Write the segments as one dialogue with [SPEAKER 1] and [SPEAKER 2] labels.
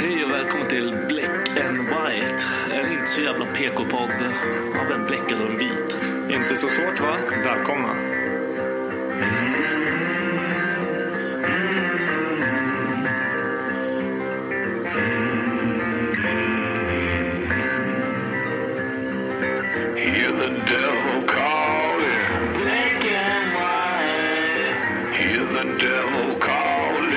[SPEAKER 1] Hej och välkommen till Black and White. En inte så jävla PK-podd av en bläckad och en vit.
[SPEAKER 2] Inte så svårt va? Välkomna.
[SPEAKER 3] Hear the devil calling. Black and white. Hear the devil calling.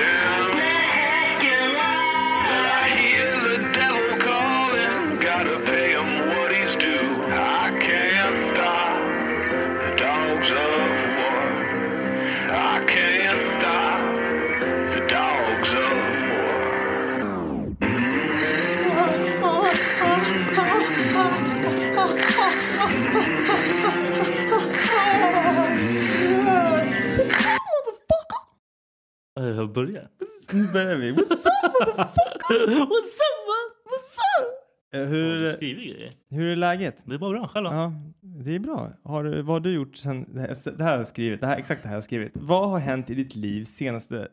[SPEAKER 3] Black and white. I hear the devil calling. Gotta pay him what he's due. I can't stop the dogs of war. I can't stop the dogs of war.
[SPEAKER 1] Jag börjar. Nu börjar vi. What's up motherfucker? What's up man? What's
[SPEAKER 2] Eh,
[SPEAKER 1] up? Du
[SPEAKER 2] Hur,
[SPEAKER 1] skriver grejer.
[SPEAKER 2] hur är läget?
[SPEAKER 1] Det är bara bra. Själv då?
[SPEAKER 2] Ja, det är bra. Har du, vad har du gjort sen det här, det här har skrivit? Det här, exakt det här har skrivit. Vad har hänt i ditt liv senaste,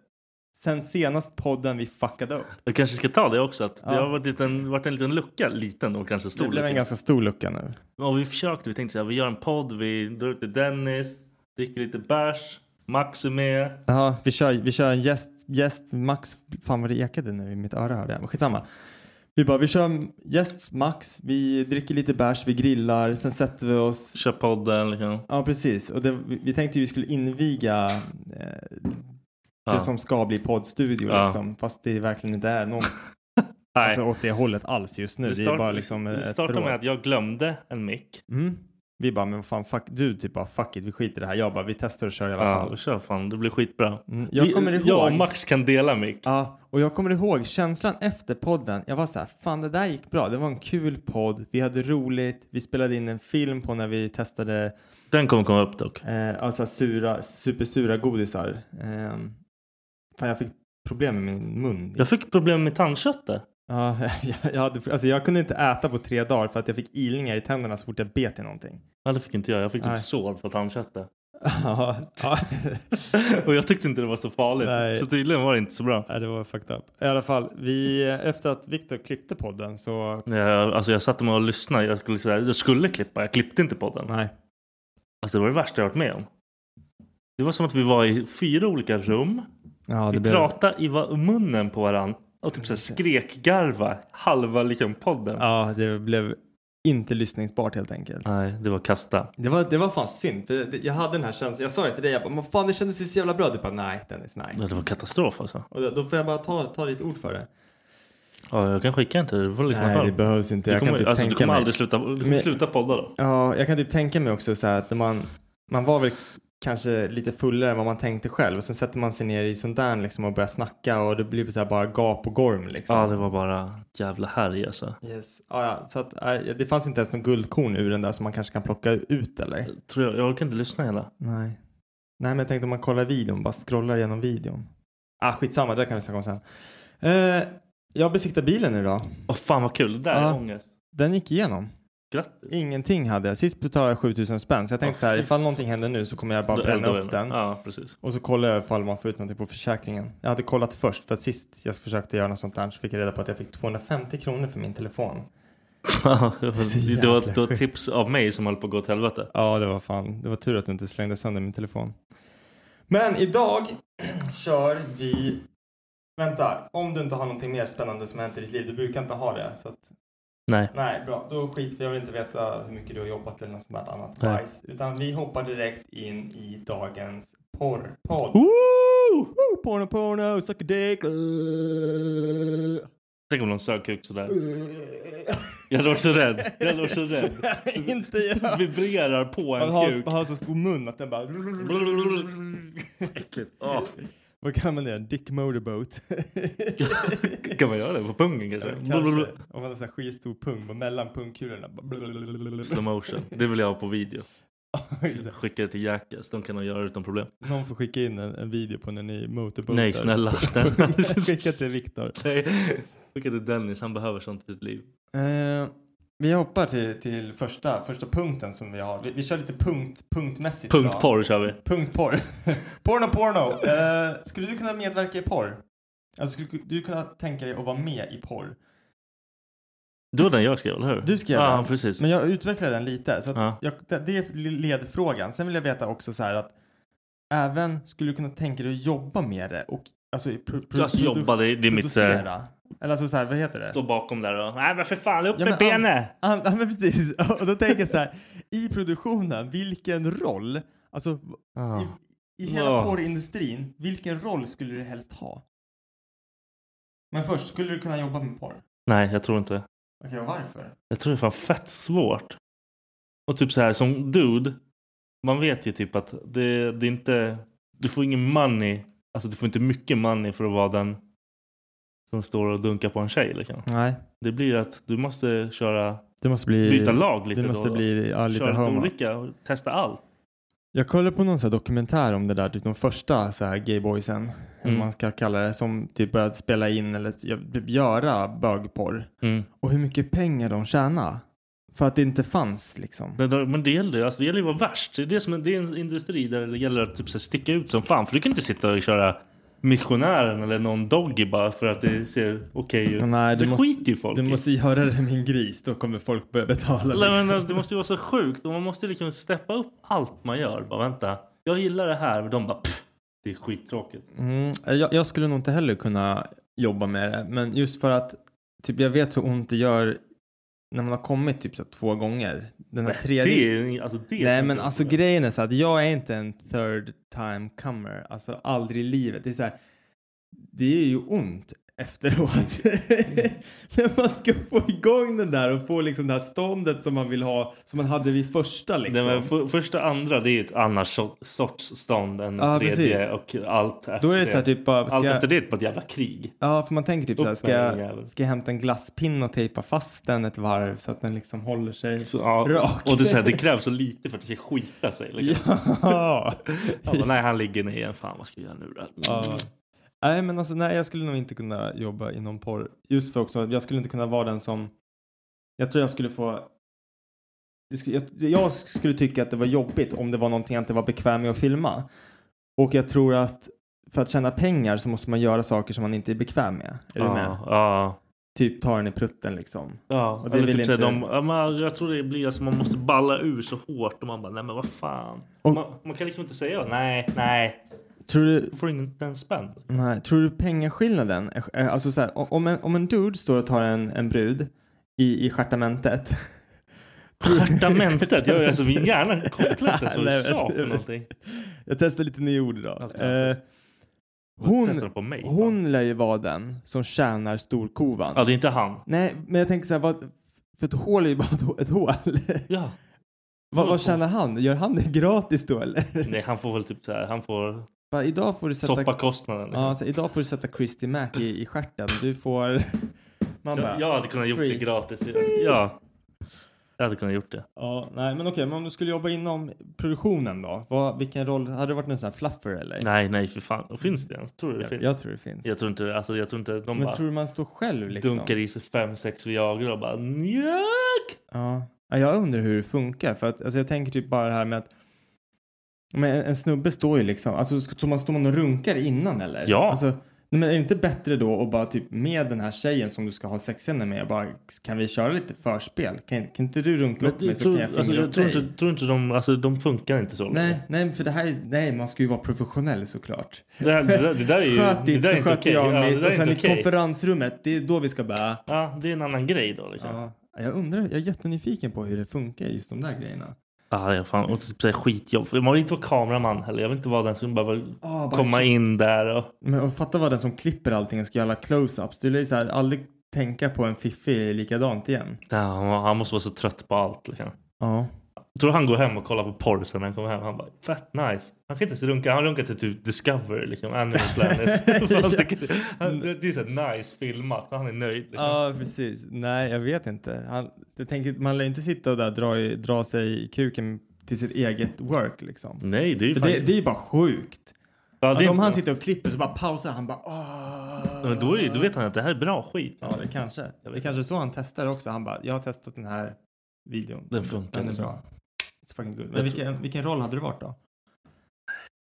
[SPEAKER 2] sen senast podden vi fuckade upp?
[SPEAKER 1] Jag kanske ska ta det också. Att
[SPEAKER 2] Ja.
[SPEAKER 1] Det har varit, liten, varit en liten lucka. Liten och kanske stor
[SPEAKER 2] Det blev en
[SPEAKER 1] lucka.
[SPEAKER 2] ganska stor lucka nu.
[SPEAKER 1] Och vi försökte. Vi tänkte så här, vi gör en podd. Vi drar ut till Dennis. Dricker lite bärs. Max är med.
[SPEAKER 2] Ja, vi kör, vi kör en gäst, gäst Max. Fan vad det ekade nu i mitt öra hörde jag. Men Skitsamma. Vi bara, vi kör gäst Max, vi dricker lite bärs, vi grillar, sen sätter vi oss
[SPEAKER 1] Kör podden liksom.
[SPEAKER 2] Ja, precis. Och det, vi vi tänkte ju vi skulle inviga eh,
[SPEAKER 1] Ja.
[SPEAKER 2] det som ska bli poddstudio,
[SPEAKER 1] Ja.
[SPEAKER 2] liksom. fast det verkligen inte är någon
[SPEAKER 1] Nej.
[SPEAKER 2] alltså, åt det hållet alls just nu.
[SPEAKER 1] Vi
[SPEAKER 2] Det,
[SPEAKER 1] start-
[SPEAKER 2] är bara liksom
[SPEAKER 1] vi
[SPEAKER 2] ett
[SPEAKER 1] startar
[SPEAKER 2] förråd.
[SPEAKER 1] med att jag glömde en mick.
[SPEAKER 2] Mm. Vi bara, men vad fan, fuck, du typ bara, fuck it, vi skiter i det här. Jag bara, vi testar och kör i alla
[SPEAKER 1] Ja,
[SPEAKER 2] fall.
[SPEAKER 1] kör fan. Det blir skitbra.
[SPEAKER 2] Mm. Jag
[SPEAKER 1] Vi-
[SPEAKER 2] kommer ihåg.
[SPEAKER 1] Jag och Max kan dela mick.
[SPEAKER 2] Ja, och jag kommer ihåg känslan efter podden. Jag var så här, fan det där gick bra. Det var en kul podd. Vi hade roligt. Vi spelade in en film på när vi testade
[SPEAKER 1] Den kommer komma upp dock.
[SPEAKER 2] Eh, alltså sura, supersura godisar. Eh, fan, jag fick problem med min mun.
[SPEAKER 1] Jag fick problem med tandköttet.
[SPEAKER 2] Ja, jag, jag, hade, alltså, jag kunde inte äta på tre dagar för att jag fick ilningar i tänderna så fort jag bet i någonting.
[SPEAKER 1] Ja, det fick inte jag. Jag fick
[SPEAKER 2] Nej.
[SPEAKER 1] typ sår på tandköttet.
[SPEAKER 2] Ja,
[SPEAKER 1] Och jag tyckte inte det var så farligt.
[SPEAKER 2] Nej.
[SPEAKER 1] Så tydligen var det inte så bra.
[SPEAKER 2] Nej, det var fucked up. I alla fall, vi, efter att Viktor klippte podden så...
[SPEAKER 1] Jag, alltså jag satte mig och lyssnade. Jag skulle, säga, jag skulle klippa. Jag klippte inte podden.
[SPEAKER 2] Nej.
[SPEAKER 1] Alltså det var det värsta jag varit med om. Det var som att vi var i fyra olika rum.
[SPEAKER 2] Ja,
[SPEAKER 1] vi pratade i va- munnen på varandra. Och typ så här skrekgarva halva liksom podden.
[SPEAKER 2] ja, det blev inte lyssningsbart helt enkelt.
[SPEAKER 1] Nej, det var kasta.
[SPEAKER 2] Det var, det var fan synd, för det- jag hade den här känslan. Jag sa det till dig, jag bara, "Men fan det kändes ju så jävla bra. Du bara, nej Dennis, nej.
[SPEAKER 1] Ja, Det var katastrof alltså.
[SPEAKER 2] Och då, då får jag bara ta, ta ditt ord för det.
[SPEAKER 1] Ja, jag kan skicka en till dig. Du får lyssna
[SPEAKER 2] Nej,
[SPEAKER 1] själv.
[SPEAKER 2] det behövs inte.
[SPEAKER 1] Du
[SPEAKER 2] Jag kan
[SPEAKER 1] kommer,
[SPEAKER 2] typ
[SPEAKER 1] alltså, du
[SPEAKER 2] tänka
[SPEAKER 1] kommer
[SPEAKER 2] mig.
[SPEAKER 1] aldrig sluta, du kommer
[SPEAKER 2] Men-
[SPEAKER 1] sluta podda då.
[SPEAKER 2] Ja, jag kan typ tänka mig också så här att när man, man var väl
[SPEAKER 3] kanske lite fullare än vad man tänkte själv. Och sen sätter man sig ner i sånt där liksom och börjar snacka och det blir så här bara gap och gorm liksom.
[SPEAKER 1] Ja, det var bara jävla härj alltså.
[SPEAKER 3] Yes. Ja, ja, så att, eh, det fanns inte ens någon guldkorn ur den där som man kanske kan plocka ut eller?
[SPEAKER 1] Tror jag, jag orkar inte lyssna hela.
[SPEAKER 3] Nej. Nej, men jag tänkte om man kollar videon, bara scrollar igenom videon. Ah, skitsamma, det där kan vi snacka om sen. Eh, jag besiktar bilen idag.
[SPEAKER 1] Åh fan vad kul, det där
[SPEAKER 3] Ja.
[SPEAKER 1] är ångest.
[SPEAKER 3] Den gick igenom.
[SPEAKER 1] Grattis.
[SPEAKER 3] Ingenting hade jag. Sist betalade jag 7000 spänn, så jag tänkte
[SPEAKER 1] Åh,
[SPEAKER 3] så här,
[SPEAKER 1] fy
[SPEAKER 3] ifall någonting händer nu så kommer jag bara
[SPEAKER 1] Du
[SPEAKER 3] bränna
[SPEAKER 1] eldar
[SPEAKER 3] upp
[SPEAKER 1] väl?
[SPEAKER 3] den.
[SPEAKER 1] Ja, precis.
[SPEAKER 3] Och så kollade jag ifall man får ut någonting på försäkringen. Jag hade kollat först, för att sist jag försökte göra något sånt där så fick jag reda på att jag fick 250 kronor för min telefon.
[SPEAKER 1] du,
[SPEAKER 3] så
[SPEAKER 1] har,
[SPEAKER 3] jävla
[SPEAKER 1] du har
[SPEAKER 3] sjukt.
[SPEAKER 1] tips av mig som höll på att gå åt helvete.
[SPEAKER 3] Ja, det var fan. Det var tur att du inte slängde sönder min telefon. Men idag kör vi... Vänta, om du inte har någonting mer spännande som har hänt i ditt liv. Du brukar inte ha det. Så att...
[SPEAKER 1] Nej.
[SPEAKER 3] Nej, bra. Då skit vi. Jag vill inte veta hur mycket du har jobbat eller något sånt där annat
[SPEAKER 1] Nej.
[SPEAKER 3] bajs. Utan vi hoppar direkt in i dagens porrpodd.
[SPEAKER 1] Oh. Woo!
[SPEAKER 3] Woo, Porno, porno, suck a dick.
[SPEAKER 1] Tänk om någon sög kuk sådär. Jag hade varit så rädd. Jag hade varit så rädd.
[SPEAKER 3] inte jag.
[SPEAKER 1] Vibrerar på
[SPEAKER 3] Man
[SPEAKER 1] ens
[SPEAKER 3] har,
[SPEAKER 1] kuk.
[SPEAKER 3] man har så stor mun att den bara...
[SPEAKER 1] Äckligt. Ja.
[SPEAKER 3] Vad kan man göra? Dick motorboat.
[SPEAKER 1] Kan man göra det på pungen kanske?
[SPEAKER 3] Kanske. Om man har så här skitstor pung och mellan pungkulorna. bara-
[SPEAKER 1] Slow motion. Det vill jag ha på video. Skicka det till Jackass. De kan nog göra det utan problem.
[SPEAKER 3] Någon får skicka in en, en video på när ni motorbåtar.
[SPEAKER 1] Nej, snälla, snälla.
[SPEAKER 3] Skicka till Viktor.
[SPEAKER 1] Nej. Skicka till Dennis. Han behöver sånt i sitt liv.
[SPEAKER 3] Eh, vi hoppar till, till första, första punkten som vi har. Vi, vi kör lite punkt, punktmässigt. idag.
[SPEAKER 1] Punktporr kör vi.
[SPEAKER 3] Punktporr. porno, porno. Eh, skulle du kunna medverka i porr? Alltså skulle du kunna tänka dig att vara med i porr?
[SPEAKER 1] Det var den jag skrev, eller hur?
[SPEAKER 3] Du skrev
[SPEAKER 1] Ja,
[SPEAKER 3] den.
[SPEAKER 1] precis.
[SPEAKER 3] Men jag utvecklar den lite. Så att
[SPEAKER 1] Ja.
[SPEAKER 3] jag, det, det är ledfrågan. Sen vill jag veta också så här att även skulle du kunna tänka dig att jobba med det och alltså, i pro, pro,
[SPEAKER 1] Alltså jobba, det, det är mitt... Eh,
[SPEAKER 3] producera. Eller alltså så här, vad heter det?
[SPEAKER 1] stå bakom där och... Nej men för fan, upp
[SPEAKER 3] Ja,
[SPEAKER 1] med
[SPEAKER 3] men, an-
[SPEAKER 1] benet!
[SPEAKER 3] Ja, ja, men precis. Och då tänker jag så här, i produktionen, vilken roll, alltså
[SPEAKER 1] Ja.
[SPEAKER 3] i, i hela
[SPEAKER 1] Ja.
[SPEAKER 3] porrindustrin, vilken roll skulle du helst ha? Men först, skulle du kunna jobba med porr?
[SPEAKER 1] Nej, jag tror inte det.
[SPEAKER 3] Okej, och varför?
[SPEAKER 1] Jag tror det är fan fett svårt. Och typ så här som dude. Man vet ju typ att det, det är inte... Du får ingen money. Alltså du får inte mycket money för att vara den som står och dunkar på en tjej. Liksom.
[SPEAKER 3] Nej,
[SPEAKER 1] Det blir ju att du måste köra,
[SPEAKER 3] det måste bli...
[SPEAKER 1] byta lag lite
[SPEAKER 3] Det måste
[SPEAKER 1] då.
[SPEAKER 3] bli ja, lite
[SPEAKER 1] köra lite
[SPEAKER 3] homo.
[SPEAKER 1] olika och testa allt.
[SPEAKER 3] Jag kollade på någon så här dokumentär om det där, typ de första så här gayboysen,
[SPEAKER 1] Mm.
[SPEAKER 3] hur man ska kalla det, som typ började spela in eller typ göra bögporr.
[SPEAKER 1] Mm.
[SPEAKER 3] Och hur mycket pengar de tjänade. För att det inte fanns liksom.
[SPEAKER 1] Men, då- men det gäller ju alltså det gäller ju att vara värst. Det är, det, som, det är en industri där det gäller att typ, så här, sticka ut som fan. För du kan inte sitta och köra missionären eller någon doggy bara för att det ser okej ut.
[SPEAKER 3] Nej, du
[SPEAKER 1] det
[SPEAKER 3] måste-
[SPEAKER 1] skiter ju folk
[SPEAKER 3] Du
[SPEAKER 1] i.
[SPEAKER 3] måste göra det med en gris, då kommer folk börja betala.
[SPEAKER 1] Nej, men,
[SPEAKER 3] Liksom.
[SPEAKER 1] alltså, det måste ju vara så sjukt. Och man måste liksom steppa upp allt man gör. Bara vänta, jag gillar det här. Men de bara pff, det är skittråkigt.
[SPEAKER 3] Mm, jag, jag skulle nog inte heller kunna jobba med det, men just för att typ, jag vet hur ont det gör när man har kommit typ så här, två gånger. Den här
[SPEAKER 1] Det
[SPEAKER 3] tredje...
[SPEAKER 1] är, alltså, det tror
[SPEAKER 3] Nej
[SPEAKER 1] jag
[SPEAKER 3] men
[SPEAKER 1] inte.
[SPEAKER 3] alltså grejen är så att jag är inte en third time comer. Alltså aldrig i livet. Det är så här, det är ju ont efteråt. När man ska få igång den där och få liksom det här ståndet som man vill ha, som man hade vid första liksom.
[SPEAKER 1] Nej, men för, första andra det är ju ett annat so- sorts stånd än
[SPEAKER 3] Ja,
[SPEAKER 1] tredje
[SPEAKER 3] precis.
[SPEAKER 1] och allt efter
[SPEAKER 3] Då är det så här typ bara, ska
[SPEAKER 1] Allt
[SPEAKER 3] jag,
[SPEAKER 1] efter det är bara ett jävla krig.
[SPEAKER 3] ja för man tänker typ så här,
[SPEAKER 1] Upp
[SPEAKER 3] ska
[SPEAKER 1] med den jäveln.
[SPEAKER 3] jag, ska jag hämta en glasspinne och tejpa fast den ett varv så att den liksom håller sig
[SPEAKER 1] Så, ja.
[SPEAKER 3] rak?
[SPEAKER 1] Och det, är så här, det krävs så lite för att det ska skita sig. Liksom.
[SPEAKER 3] ja.
[SPEAKER 1] Han bara, nej, han ligger ner igen. Fan, vad ska jag göra nu då?
[SPEAKER 3] Ja. Nej men alltså nej jag skulle nog inte kunna jobba inom porr. Just för också, jag skulle inte kunna vara den som, jag tror jag skulle få, det skulle, jag, jag skulle tycka att det var jobbigt om det var någonting jag inte var bekväm med att filma. Och jag tror att för att tjäna pengar så måste man göra saker som man inte är bekväm med. Är du
[SPEAKER 1] ja,
[SPEAKER 3] med?
[SPEAKER 1] Ja.
[SPEAKER 3] Typ ta den i prutten liksom.
[SPEAKER 1] ja.
[SPEAKER 3] Och det
[SPEAKER 1] Eller
[SPEAKER 3] vill
[SPEAKER 1] typ så här,
[SPEAKER 3] inte-
[SPEAKER 1] de, ja, men jag tror det blir alltså, man måste balla ur så hårt och man bara, nej men vad fan.
[SPEAKER 3] Och-
[SPEAKER 1] Man, man kan liksom inte säga nej, nej.
[SPEAKER 3] Tror du,
[SPEAKER 1] Du får inte en spänn.
[SPEAKER 3] Nej, tror du pengaskillnaden? är- är- Alltså så här, o- om, en, om en dude står och tar en, en brud i, i stjärtamentet.
[SPEAKER 1] Stjärtamentet. Jag, alltså, min hjärna är komplett alltså, vad
[SPEAKER 3] Nej,
[SPEAKER 1] du
[SPEAKER 3] men-
[SPEAKER 1] sa för någonting.
[SPEAKER 3] Jag testar lite nya ord idag.
[SPEAKER 1] Allt kan jag
[SPEAKER 3] Eh,
[SPEAKER 1] testa.
[SPEAKER 3] hon,
[SPEAKER 1] Testar du på mig. fan.
[SPEAKER 3] hon lär ju vara den som tjänar storkovan.
[SPEAKER 1] Ja, det är inte han.
[SPEAKER 3] Nej, men jag tänker så här, vad, för ett hål är ju bara ett hå- ett hål.
[SPEAKER 1] Ja.
[SPEAKER 2] Vad, vad tjänar han? Gör han det gratis då eller?
[SPEAKER 1] Nej, han får väl typ så här, han får
[SPEAKER 2] Bara, idag får du sätta...
[SPEAKER 1] soppakostnaden.
[SPEAKER 2] Ja, så idag får du sätta Christy Mac i, i stjärten. Du får... Man bara...
[SPEAKER 1] jag, jag hade kunnat gjort
[SPEAKER 2] free.
[SPEAKER 1] det gratis. Ja. Jag hade kunnat gjort det.
[SPEAKER 2] Ja, nej men okej, men om du skulle jobba inom produktionen då? Vad, vilken roll? Hade du varit någon sån här fluffer eller?
[SPEAKER 1] Nej, nej för fan. Finns det ens? Tror du det
[SPEAKER 2] jag,
[SPEAKER 1] finns?
[SPEAKER 2] jag tror det finns.
[SPEAKER 1] Jag tror inte det. Alltså, jag tror inte de
[SPEAKER 2] men
[SPEAKER 1] bara
[SPEAKER 2] tror du man står själv liksom?
[SPEAKER 1] dunkar i sig fem, sex Viagra och bara njöööööööööööööööööööööööööööööööööööööööööö
[SPEAKER 2] Ja. ja, jag undrar hur det funkar. För att, alltså, jag tänker typ bara det här med att men en, en snubbe står ju liksom, alltså ska- står man, står man och runkar innan eller?
[SPEAKER 1] Ja.
[SPEAKER 2] Alltså, nej, men är det inte bättre då att bara typ med den här tjejen som du ska ha sexscener med, bara kan vi köra lite förspel? Kan, kan inte du runka upp mig så kan jag fingra
[SPEAKER 1] alltså,
[SPEAKER 2] upp
[SPEAKER 1] jag tror
[SPEAKER 2] dig?
[SPEAKER 1] inte, tror inte de, alltså de funkar inte så.
[SPEAKER 2] Nej, nej, för det här är, nej, man ska ju vara professionell såklart.
[SPEAKER 1] Det, här, det, där, det där är ju
[SPEAKER 2] Sköt
[SPEAKER 1] det
[SPEAKER 2] ditt
[SPEAKER 1] där är
[SPEAKER 2] så
[SPEAKER 1] inte
[SPEAKER 2] sköter
[SPEAKER 1] okej.
[SPEAKER 2] jag
[SPEAKER 1] Ja, det
[SPEAKER 2] mitt.
[SPEAKER 1] där
[SPEAKER 2] och
[SPEAKER 1] är
[SPEAKER 2] sen i
[SPEAKER 1] inte okej.
[SPEAKER 2] konferensrummet, det är då vi ska bara...
[SPEAKER 1] Ja, det är en annan grej då liksom. Ja,
[SPEAKER 2] Ja, jag undrar, jag är jättenyfiken på hur det funkar just de där grejerna.
[SPEAKER 1] ah, jag fan, och typ så här skitjobb. Man vill inte vara kameraman heller. Jag vill inte vara den som bara vill
[SPEAKER 2] Ah, bara-
[SPEAKER 1] komma in där och...
[SPEAKER 2] Men och fatta vad den som klipper allting och ska göra alla close-ups. Det är så här, aldrig tänka på en fiffig likadant igen.
[SPEAKER 1] Ja, han- han måste vara så trött på allt liksom.
[SPEAKER 2] Ja.
[SPEAKER 1] Jag tror han går hem och kollar på porr sen när han kommer hem. Han bara fett nice. Han kan inte ens runka. Han runkar till typ Discovery liksom. Animal Planet. För han tycker- han- det det är så här nice filmat. Så han är nöjd. Liksom.
[SPEAKER 2] Ja, precis. Nej, jag vet inte. Han, jag tänker, man lär ju inte sitta och där dra, i- dra sig i kuken till sitt eget work liksom.
[SPEAKER 1] Nej, det är ju
[SPEAKER 2] För
[SPEAKER 1] fan...
[SPEAKER 2] det, det är ju bara sjukt.
[SPEAKER 1] Mm. Ja, det är
[SPEAKER 2] Alltså, om
[SPEAKER 1] inte-
[SPEAKER 2] han sitter och klipper så bara pausar han bara "Åh."
[SPEAKER 1] Ja, men då, är, då vet han att det här är bra skit.
[SPEAKER 2] Ja, det kanske. Det är kanske är så han testar också. Han bara, jag har testat den här videon.
[SPEAKER 1] Den funkar
[SPEAKER 2] Den är
[SPEAKER 1] liksom.
[SPEAKER 2] bra. It's fucking good. Men
[SPEAKER 1] Jag tror-
[SPEAKER 2] vilken, vilken roll hade du varit då?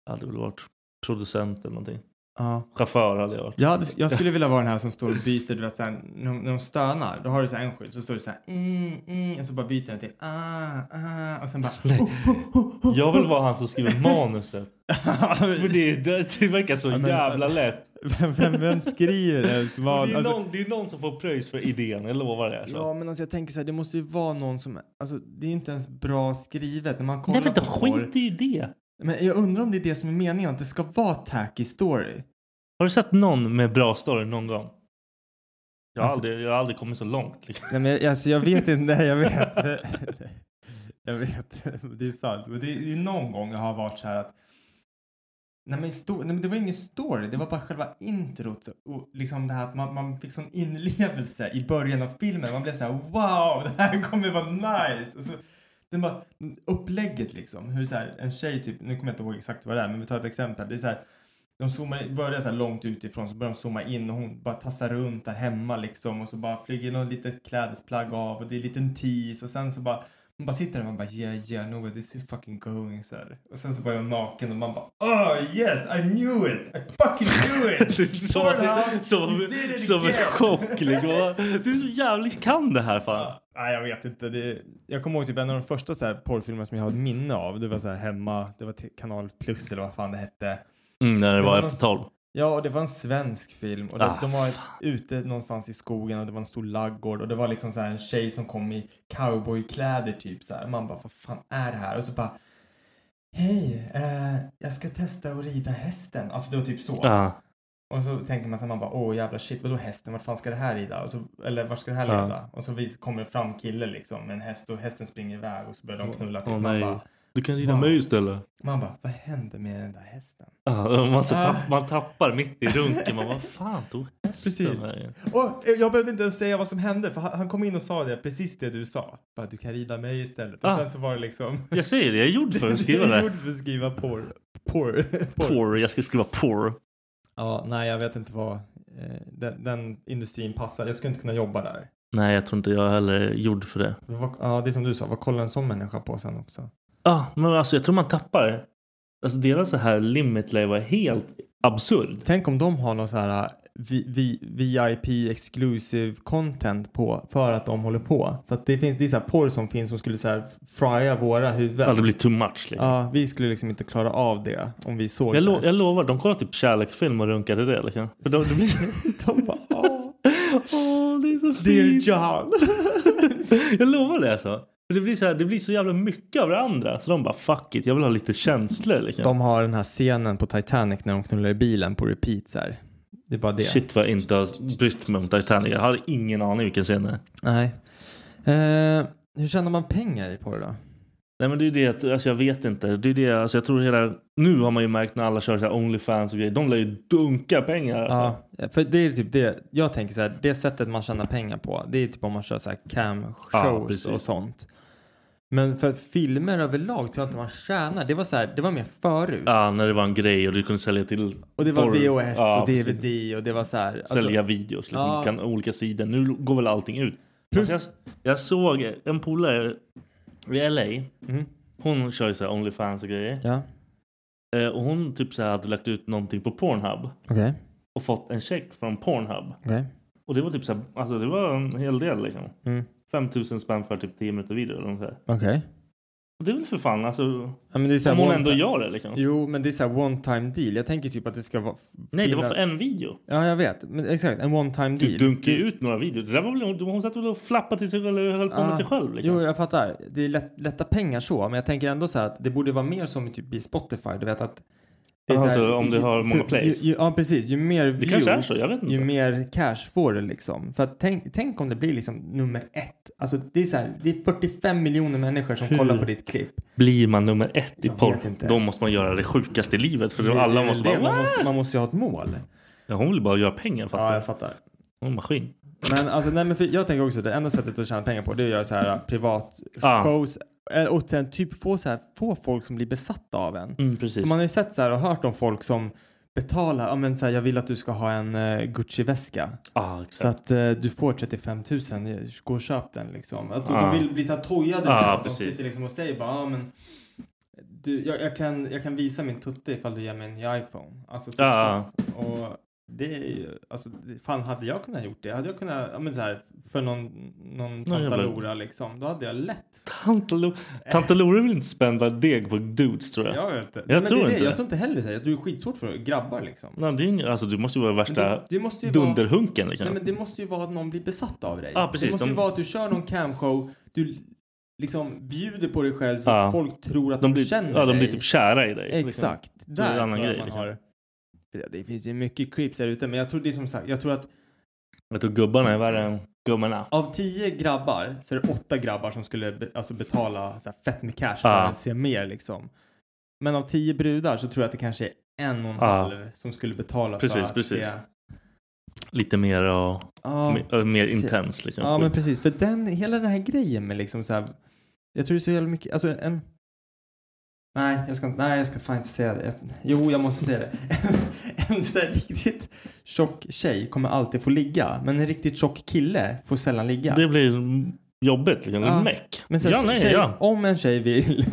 [SPEAKER 1] Jag hade väl varit producent eller någonting.
[SPEAKER 2] Ja.
[SPEAKER 1] Chaufför hade jag varit.
[SPEAKER 2] Jag, hade, jag skulle vilja vara den här som står och byter, du vet, så här, när, de- när de stönar, då har du så här en skylt, så står det så här, i, i, och så bara byter den till, ah, ah, och sen bara, oh, oh, oh, oh.
[SPEAKER 1] Jag vill vara han som skriver manuset. För det, är- det, det verkar så
[SPEAKER 2] Ja, men-
[SPEAKER 1] jävla lätt.
[SPEAKER 2] vem, vem, vem skriver ens vad?
[SPEAKER 1] det, är
[SPEAKER 2] Alltså,
[SPEAKER 1] någon, det är någon som får pröjs för idén, jag lovar det. Alltså.
[SPEAKER 2] ja, men alltså jag tänker så här, det måste ju vara någon som, alltså det är ju inte ens bra skrivet när man
[SPEAKER 1] Nej
[SPEAKER 2] kollar
[SPEAKER 1] men de
[SPEAKER 2] på porr.
[SPEAKER 1] skiter ju i det.
[SPEAKER 2] Men jag undrar om det är det som är meningen, att det ska vara tacky story.
[SPEAKER 1] Har du sett någon med bra story någon gång? Jag har,
[SPEAKER 2] Alltså-
[SPEAKER 1] aldrig, jag har aldrig kommit så långt. Liksom.
[SPEAKER 2] Nej men jag- alltså jag vet inte, nej jag vet. jag vet, det är sant. Men det är, det är någon gång jag har varit så här att Nej men, sto- nej men det var ingen story, det var bara själva introt. så- Och liksom det här att man, man fick sån inlevelse i början av filmen. Man blev så här wow, det här kommer vara nice. Och så, den bara, upplägget liksom. Hur så här, en tjej typ, nu kommer jag inte ihåg exakt vad det är men vi tar ett exempel. Det är så här, de zoomar, börjar så här långt utifrån så börjar de zooma in och hon bara tassar runt där hemma liksom och så bara flyger något litet klädesplagg av och det är en liten tease och sen så bara man bara sitter där och man bara yeah yeah no this is fucking going så här. Och sen så bara är hon naken och man bara oh yes I knew it I fucking knew it!
[SPEAKER 1] Som, att
[SPEAKER 2] Pornhub,
[SPEAKER 1] det, som,
[SPEAKER 2] you did it
[SPEAKER 1] som en
[SPEAKER 2] again.
[SPEAKER 1] chock liksom. Du är så jävligt kan det här fan.
[SPEAKER 2] Nej, jag vet inte. Det, jag kommer ihåg typ en av de första så här, porrfilmerna som jag har ett minne av. Det var så här hemma, det var t- kanal plus eller vad fan det hette.
[SPEAKER 1] Mm, när det
[SPEAKER 2] Men
[SPEAKER 1] var
[SPEAKER 2] man-
[SPEAKER 1] efter tolv.
[SPEAKER 2] Ja, och det var en svensk film och de,
[SPEAKER 1] Ah,
[SPEAKER 2] de var ute någonstans i skogen och det var en stor laggård och det var liksom så här en tjej som kom i cowboykläder typ så här. Man bara, vad fan är det här? Och så bara, hej, eh, jag ska testa att rida hästen. Alltså det var typ så.
[SPEAKER 1] Ja.
[SPEAKER 2] Och så tänker man så här, man bara, åh jävla shit, vadå hästen, vart fan ska det här rida? Och så, eller vart ska det här
[SPEAKER 1] Ja.
[SPEAKER 2] leda? Och så vis- kommer det fram kille liksom med en häst och hästen springer iväg och så börjar de knulla. Typ.
[SPEAKER 1] Åh,
[SPEAKER 2] man,
[SPEAKER 1] nej.
[SPEAKER 2] bara,
[SPEAKER 1] Du kan rida
[SPEAKER 2] Wow.
[SPEAKER 1] mig istället.
[SPEAKER 2] man bara, vad hände med den där hästen?
[SPEAKER 1] Ja, man, så
[SPEAKER 2] Ah.
[SPEAKER 1] tapp, man tappar mitt i runken. Man vad fan tog hästen
[SPEAKER 2] Precis.
[SPEAKER 1] vägen?
[SPEAKER 2] Och eh, jag behövde inte ens säga vad som hände för han han kom in och sa det, precis det du sa. Bara, du kan rida mig istället. Och
[SPEAKER 1] Ah.
[SPEAKER 2] sen så var det liksom...
[SPEAKER 1] Jag säger det, jag är gjord för att skriva
[SPEAKER 2] Jag
[SPEAKER 1] det.
[SPEAKER 2] gjorde för att skriva porr. Porr. porr.
[SPEAKER 1] Poor, jag ska skriva poor.
[SPEAKER 2] Ja, nej jag vet inte vad eh, den, den industrin passar. Jag skulle inte kunna jobba där.
[SPEAKER 1] Nej, jag tror inte jag heller är gjord för det.
[SPEAKER 2] Vad, ja, det är som du sa, vad kollar en sån människa på sen också?
[SPEAKER 1] Ah, men alltså, jag tror man tappar. Alltså deras så här limit life var helt absurd.
[SPEAKER 2] Tänk om de har någon så här eh, vi, vi, VIP exclusive content på för att de håller på. Så att det finns, det är så här porr som finns som skulle så här frya våra huvuden.
[SPEAKER 1] Ja, det blir too much. Liksom.
[SPEAKER 2] Ja, vi skulle liksom inte klara av det om vi såg
[SPEAKER 1] jag,
[SPEAKER 2] det.
[SPEAKER 1] lo- jag lovar, de kollar typ kärleksfilm och runkar till det. Liksom. För de, det blir så...
[SPEAKER 2] De bara, åh,
[SPEAKER 1] Åh, det är så
[SPEAKER 2] dear
[SPEAKER 1] fint.
[SPEAKER 2] John.
[SPEAKER 1] jag lovar det alltså. För det, blir så här, det blir så jävla mycket av det andra. Så de bara fuck it, jag vill ha lite känslor. Liksom.
[SPEAKER 2] De har den här scenen på Titanic när de knullar i bilen på repeat så här. Det är bara det.
[SPEAKER 1] Shit vad jag inte har brytt mig om Titanic. Jag har ingen aning vilken scen det är.
[SPEAKER 2] Nej. Eh, hur tjänar man pengar i porr då?
[SPEAKER 1] Nej men det är det, att- alltså jag vet inte. Det är det, alltså jag tror hela, nu har man ju märkt när alla kör så här Onlyfans och grejer, de lär ju dunka pengar alltså.
[SPEAKER 2] Ja, för det är typ det. Jag tänker så här, det sättet man tjänar pengar på, det är typ om man kör så här
[SPEAKER 1] Ja,
[SPEAKER 2] cam-shows
[SPEAKER 1] precis.
[SPEAKER 2] och sånt. Men för att filmer överlag tror jag inte man tjänar. Det var så här, det var mer förut.
[SPEAKER 1] Ja, Ah, när det var en grej och du kunde sälja till
[SPEAKER 2] Och det var
[SPEAKER 1] porr.
[SPEAKER 2] VHS
[SPEAKER 1] Ja,
[SPEAKER 2] och
[SPEAKER 1] precis.
[SPEAKER 2] DVD och det var så här. alltså-
[SPEAKER 1] Sälja videos, liksom,
[SPEAKER 2] Ja.
[SPEAKER 1] kan, olika sidor. Nu går väl allting ut. Alltså,
[SPEAKER 2] Plus-
[SPEAKER 1] Jag, jag såg en polare i LA.
[SPEAKER 2] Mhm.
[SPEAKER 1] Hon kör ju så här Onlyfans och grejer.
[SPEAKER 2] Ja,
[SPEAKER 1] Eh, och hon typ så här hade lagt ut någonting på Pornhub.
[SPEAKER 2] okej.
[SPEAKER 1] Och fått en check från Pornhub.
[SPEAKER 2] okej.
[SPEAKER 1] Och det var typ så här, alltså det var en hel del liksom.
[SPEAKER 2] Mm.
[SPEAKER 1] 5000 spänn för typ 10 minuter video eller nåt sånt där.
[SPEAKER 2] Okej.
[SPEAKER 1] Och det är väl för fan alltså.
[SPEAKER 2] Ja, men det är så här
[SPEAKER 1] Om hon
[SPEAKER 2] one
[SPEAKER 1] ändå
[SPEAKER 2] ti-
[SPEAKER 1] gör det liksom.
[SPEAKER 2] Jo, men det är så här one time deal. Jag tänker typ att det ska vara...
[SPEAKER 1] Nej, det var
[SPEAKER 2] filma-
[SPEAKER 1] för en video.
[SPEAKER 2] Ja, jag vet. Men exakt, en one time deal.
[SPEAKER 1] Du dunkar ju ut några videor. Det där var väl, hon, hon satt väl och flappade till sig själv, eller höll på med
[SPEAKER 2] Ah.
[SPEAKER 1] sig själv liksom.
[SPEAKER 2] Jo, jag fattar. Det är lätt, lätta pengar så, men jag tänker ändå så här att det borde vara mer som typ i Spotify. Du vet att... det är
[SPEAKER 1] Ja,
[SPEAKER 2] så
[SPEAKER 1] alltså, om du har många plays.
[SPEAKER 2] Ju, ju, ja, precis. Ju mer views,
[SPEAKER 1] kanske är så, jag vet inte.
[SPEAKER 2] ju mer cash får du liksom. För att tänk, tänk om det blir liksom nummer ett. Alltså det är så här, det är 45 miljoner människor som
[SPEAKER 1] Hur?
[SPEAKER 2] kollar på ditt klipp.
[SPEAKER 1] Blir man nummer ett i
[SPEAKER 2] Jag vet
[SPEAKER 1] porr,
[SPEAKER 2] inte.
[SPEAKER 1] då måste man göra det sjukaste i livet. För då
[SPEAKER 2] Det är
[SPEAKER 1] alla
[SPEAKER 2] väl
[SPEAKER 1] måste
[SPEAKER 2] det.
[SPEAKER 1] bara...
[SPEAKER 2] man,
[SPEAKER 1] "Wow!"
[SPEAKER 2] måste, man måste ju ha ett mål.
[SPEAKER 1] Ja, hon vill bara göra pengar, fattar
[SPEAKER 2] Ja,
[SPEAKER 1] du?
[SPEAKER 2] jag fattar.
[SPEAKER 1] Hon är en maskin.
[SPEAKER 2] Men alltså, nej, men för jag tänker också att det enda sättet att tjäna pengar på det är att göra så här privat
[SPEAKER 1] Ah.
[SPEAKER 2] shows. Eller, Och sen typ få, så här, få folk som blir besatta av en.
[SPEAKER 1] Mm,
[SPEAKER 2] För
[SPEAKER 1] precis.
[SPEAKER 2] man har ju sett så här och hört om folk som betalar, ja men så här, jag vill att du ska ha en eh, Gucci-väska.
[SPEAKER 1] Ja,
[SPEAKER 2] Så
[SPEAKER 1] exakt.
[SPEAKER 2] att eh, du får 35 000, gå och köp den liksom. Att
[SPEAKER 1] Ja.
[SPEAKER 2] De vill bli så här tojade.
[SPEAKER 1] Ja,
[SPEAKER 2] med att
[SPEAKER 1] precis.
[SPEAKER 2] De sitter liksom och säger bara, ja men du, jag, jag, kan, jag kan visa min tutte ifall du ger mig en iPhone. Alltså typ
[SPEAKER 1] Ja.
[SPEAKER 2] sånt. Och det är ju, alltså det- fan hade jag kunnat gjort det? Hade jag kunnat, ja men så här, för någon, någon
[SPEAKER 1] jävla-
[SPEAKER 2] tantalora liksom, då hade jag lätt.
[SPEAKER 1] Tante, Lo- Tante Lore vill inte spända deg på dudes, tror jag.
[SPEAKER 2] Jag vet inte.
[SPEAKER 1] Jag
[SPEAKER 2] men
[SPEAKER 1] tror
[SPEAKER 2] det är
[SPEAKER 1] inte
[SPEAKER 2] det.
[SPEAKER 1] det.
[SPEAKER 2] Jag tror inte heller det. Jag tror det är skitsvårt för grabbar liksom.
[SPEAKER 1] Nej, det är ju, alltså, du måste ju vara
[SPEAKER 2] Men
[SPEAKER 1] värsta
[SPEAKER 2] det, det måste ju vara...
[SPEAKER 1] dunderhunken. Liksom.
[SPEAKER 2] Nej, men det måste ju vara att någon blir besatt av dig.
[SPEAKER 1] Ja, precis.
[SPEAKER 2] Det måste
[SPEAKER 1] De-
[SPEAKER 2] ju vara att du kör någon camshow, du liksom bjuder på dig själv så
[SPEAKER 1] Ja.
[SPEAKER 2] att folk tror att
[SPEAKER 1] de
[SPEAKER 2] de,
[SPEAKER 1] blir,
[SPEAKER 2] känner
[SPEAKER 1] ja, de
[SPEAKER 2] dig.
[SPEAKER 1] blir typ kära i dig. liksom.
[SPEAKER 2] Exakt.
[SPEAKER 1] Så det är en
[SPEAKER 2] Där
[SPEAKER 1] annan
[SPEAKER 2] tror jag
[SPEAKER 1] grej,
[SPEAKER 2] man
[SPEAKER 1] liksom.
[SPEAKER 2] har... Det- Det finns ju mycket creeps där ute, men jag tror det är som sagt, jag tror att
[SPEAKER 1] Jag tror gubbarna är värre än gummorna.
[SPEAKER 2] av tio grabbar så är det åtta grabbar som skulle be, alltså betala så här fett med cash för
[SPEAKER 1] Ja.
[SPEAKER 2] att se mer liksom. Men av tio brudar så tror jag att det kanske är en och en
[SPEAKER 1] Ja.
[SPEAKER 2] halv som skulle betala för
[SPEAKER 1] Precis,
[SPEAKER 2] att
[SPEAKER 1] precis.
[SPEAKER 2] se.
[SPEAKER 1] Lite mer och,
[SPEAKER 2] Ja.
[SPEAKER 1] mer, och mer
[SPEAKER 2] Precis.
[SPEAKER 1] intens. Liksom.
[SPEAKER 2] Ja men precis, för den, hela den här grejen med liksom så här, jag tror det är så jävla mycket, alltså en Nej, jag ska, inte- nej, jag ska fan inte säga det. Jo, jag måste säga det. En så här riktigt tjock tjej kommer alltid få ligga, men en riktigt tjock kille får sällan ligga.
[SPEAKER 1] Det blir jobbigt. Liksom. Det är
[SPEAKER 2] Ja.
[SPEAKER 1] meck.
[SPEAKER 2] Men så här,
[SPEAKER 1] ja, nej,
[SPEAKER 2] tjej,
[SPEAKER 1] ja.
[SPEAKER 2] om en tjej vill...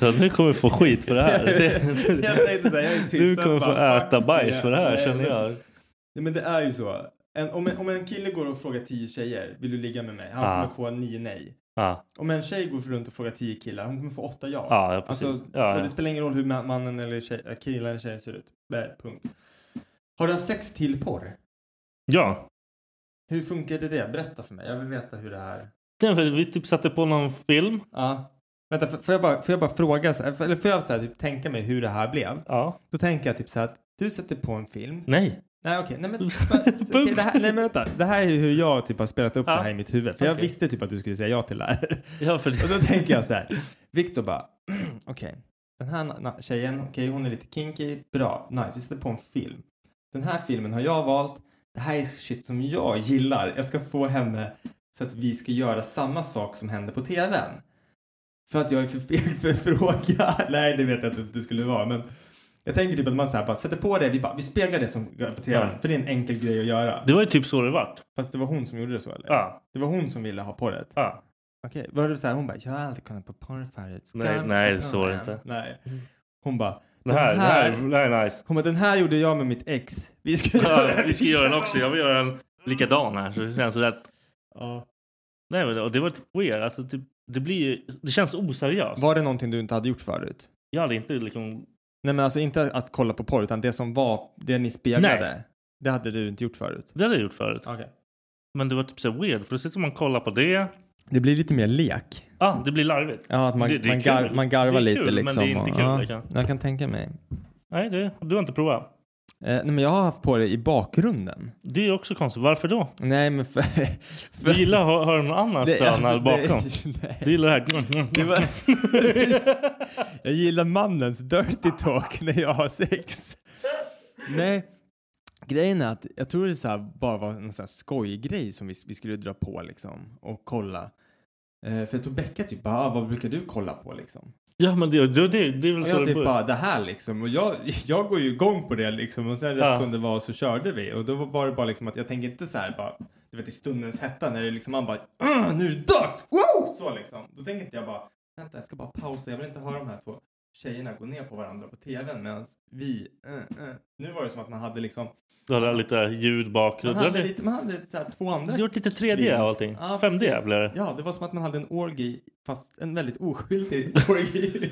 [SPEAKER 1] Ja, Nu kommer vi få skit för det här.
[SPEAKER 2] Jag tänkte så här, jag är tyst,
[SPEAKER 1] du kommer
[SPEAKER 2] jag
[SPEAKER 1] få
[SPEAKER 2] bara,
[SPEAKER 1] äta
[SPEAKER 2] fuck
[SPEAKER 1] bajs
[SPEAKER 2] det.
[SPEAKER 1] för det här
[SPEAKER 2] Nej,
[SPEAKER 1] känner
[SPEAKER 2] men-
[SPEAKER 1] jag.
[SPEAKER 2] Nej, men det är ju så. En, om, en, om en kille går och frågar tio tjejer, vill du ligga med mig? Han
[SPEAKER 1] Ja.
[SPEAKER 2] kommer få nio nej.
[SPEAKER 1] Ja,
[SPEAKER 2] Om en tjej går runt och frågar tio killar, hon kommer få åtta ja.
[SPEAKER 1] Ja, ja, precis.
[SPEAKER 2] Alltså,
[SPEAKER 1] Ja,
[SPEAKER 2] och
[SPEAKER 1] ja.
[SPEAKER 2] det spelar ingen roll hur ma- mannen eller tjej, äh, killen eller tjejen ser ut. Nej, punkt. Har du haft sex till porr?
[SPEAKER 1] ja.
[SPEAKER 2] Hur funkade det? Berätta för mig. Jag vill veta hur det här...
[SPEAKER 1] Det är för att vi typ satte på någon film.
[SPEAKER 2] Ja. Vänta, f- får jag bara, får jag bara fråga, så här, eller får jag så här, typ, tänka mig hur det här blev?
[SPEAKER 1] Ja.
[SPEAKER 2] Då tänker jag typ så här att du sätter på en film.
[SPEAKER 1] Nej.
[SPEAKER 2] Nej okej, nej men... okej, det här, nej men vänta, det här är ju hur jag typ har spelat upp
[SPEAKER 1] Ja.
[SPEAKER 2] det här i mitt huvud. För jag
[SPEAKER 1] Okej.
[SPEAKER 2] visste typ att du skulle säga ja till det här.
[SPEAKER 1] Ja, för
[SPEAKER 2] Och då tänker jag så här. Viktor bara, okej, den här na- na- tjejen, okej hon är lite kinky, bra, nice, vi sätter på en film. Den här filmen har jag valt, det här är shit som jag gillar, jag ska få henne så att vi ska göra samma sak som händer på tvn. För att jag är för feg för att fråga. Nej, det vet jag inte att det skulle vara, men jag tänker typ att man så här bara sätter på det, vi, bara, vi speglar det som går på tvn,
[SPEAKER 1] Ja.
[SPEAKER 2] för det är en enkel grej att göra.
[SPEAKER 1] Det var ju typ så det vart.
[SPEAKER 2] Fast det var hon som gjorde det så eller?
[SPEAKER 1] Ja.
[SPEAKER 2] Det var hon som ville ha porret?
[SPEAKER 1] ja.
[SPEAKER 2] Okej, var det så här, hon bara, jag har aldrig kollat på porr förut. Ska
[SPEAKER 1] Nej,
[SPEAKER 2] jag
[SPEAKER 1] nej,
[SPEAKER 2] stoppa
[SPEAKER 1] så var det
[SPEAKER 2] den?"
[SPEAKER 1] inte.
[SPEAKER 2] Nej. Hon bara,
[SPEAKER 1] Det här, det här, det här är nice.
[SPEAKER 2] hon bara, den här gjorde jag med mitt ex. Vi ska
[SPEAKER 1] Ja,
[SPEAKER 2] göra
[SPEAKER 1] vi ska göra den också. Jag vill göra en likadan här. Så det känns rätt.
[SPEAKER 2] Ja.
[SPEAKER 1] Nej, men det, och det var typ weird. Alltså, typ, det, blir, ju- det känns oseriöst.
[SPEAKER 2] Var det någonting du inte hade gjort förut?
[SPEAKER 1] Jag hade inte liksom...
[SPEAKER 2] Nej men alltså inte att kolla på porr utan det som var, det ni speglade.
[SPEAKER 1] Nej.
[SPEAKER 2] Det hade du inte gjort förut.
[SPEAKER 1] Det hade jag gjort förut. Men det var typ så här weird. För då sitter man och kollar på det.
[SPEAKER 2] Det blir lite mer lek.
[SPEAKER 1] Ah, det blir larvigt.
[SPEAKER 2] Ja, att man,
[SPEAKER 1] Det- det är
[SPEAKER 2] man,
[SPEAKER 1] kul.
[SPEAKER 2] gar, man garvar
[SPEAKER 1] Det är
[SPEAKER 2] lite
[SPEAKER 1] kul, men
[SPEAKER 2] liksom.
[SPEAKER 1] det är inte
[SPEAKER 2] och-
[SPEAKER 1] kul,
[SPEAKER 2] ja,
[SPEAKER 1] liksom.
[SPEAKER 2] Jag kan tänka mig.
[SPEAKER 1] Nej, det, du har inte provat.
[SPEAKER 2] Eh,
[SPEAKER 3] nej, men jag har haft på det i bakgrunden.
[SPEAKER 1] Det är också konstigt. Varför då?
[SPEAKER 3] Nej, men för...
[SPEAKER 1] Du gillar att hö- höra någon annan
[SPEAKER 3] Det-
[SPEAKER 1] stöna
[SPEAKER 3] alltså,
[SPEAKER 1] bakom.
[SPEAKER 3] nej, nej.
[SPEAKER 1] Du gillar det här.
[SPEAKER 3] Det var... jag gillar mannens dirty talk när jag har sex. Nej, grejen är att jag tror det så här bara var en sån här skojgrej som vi, vi skulle dra på liksom och kolla. Eh, för jag tror Becka typ bara, "Ah, vad brukar du kolla på liksom?
[SPEAKER 1] Ja, men det, det, det, det är väl
[SPEAKER 3] Och
[SPEAKER 1] så
[SPEAKER 3] jag
[SPEAKER 1] det
[SPEAKER 3] typ
[SPEAKER 1] börjar.
[SPEAKER 3] bara, det här liksom. Och jag, jag går ju igång på det liksom. Och sen
[SPEAKER 1] Ja.
[SPEAKER 3] rätt som det var så körde vi. Och då var det bara liksom att jag tänker inte så här bara, du vet i stundens hetta när det liksom man bara, "Ah, nu är det dött! Wow! Så liksom. Då tänker inte jag bara, vänta jag ska bara pausa, jag vill inte höra de här två tjejerna gå ner på varandra på tvn medan vi, eh, eh. Nu var det som att man hade liksom,
[SPEAKER 1] Du hade lite ljud
[SPEAKER 3] man
[SPEAKER 1] bakgrund. Du
[SPEAKER 3] hade
[SPEAKER 1] hade
[SPEAKER 3] lite, man hade så här två andra.
[SPEAKER 1] gjort lite 3D och allting.
[SPEAKER 3] Ja,
[SPEAKER 1] 5D
[SPEAKER 3] precis.
[SPEAKER 1] blev det.
[SPEAKER 3] Ja, det var som att man hade en orgi, fast en väldigt oskyldig orgi.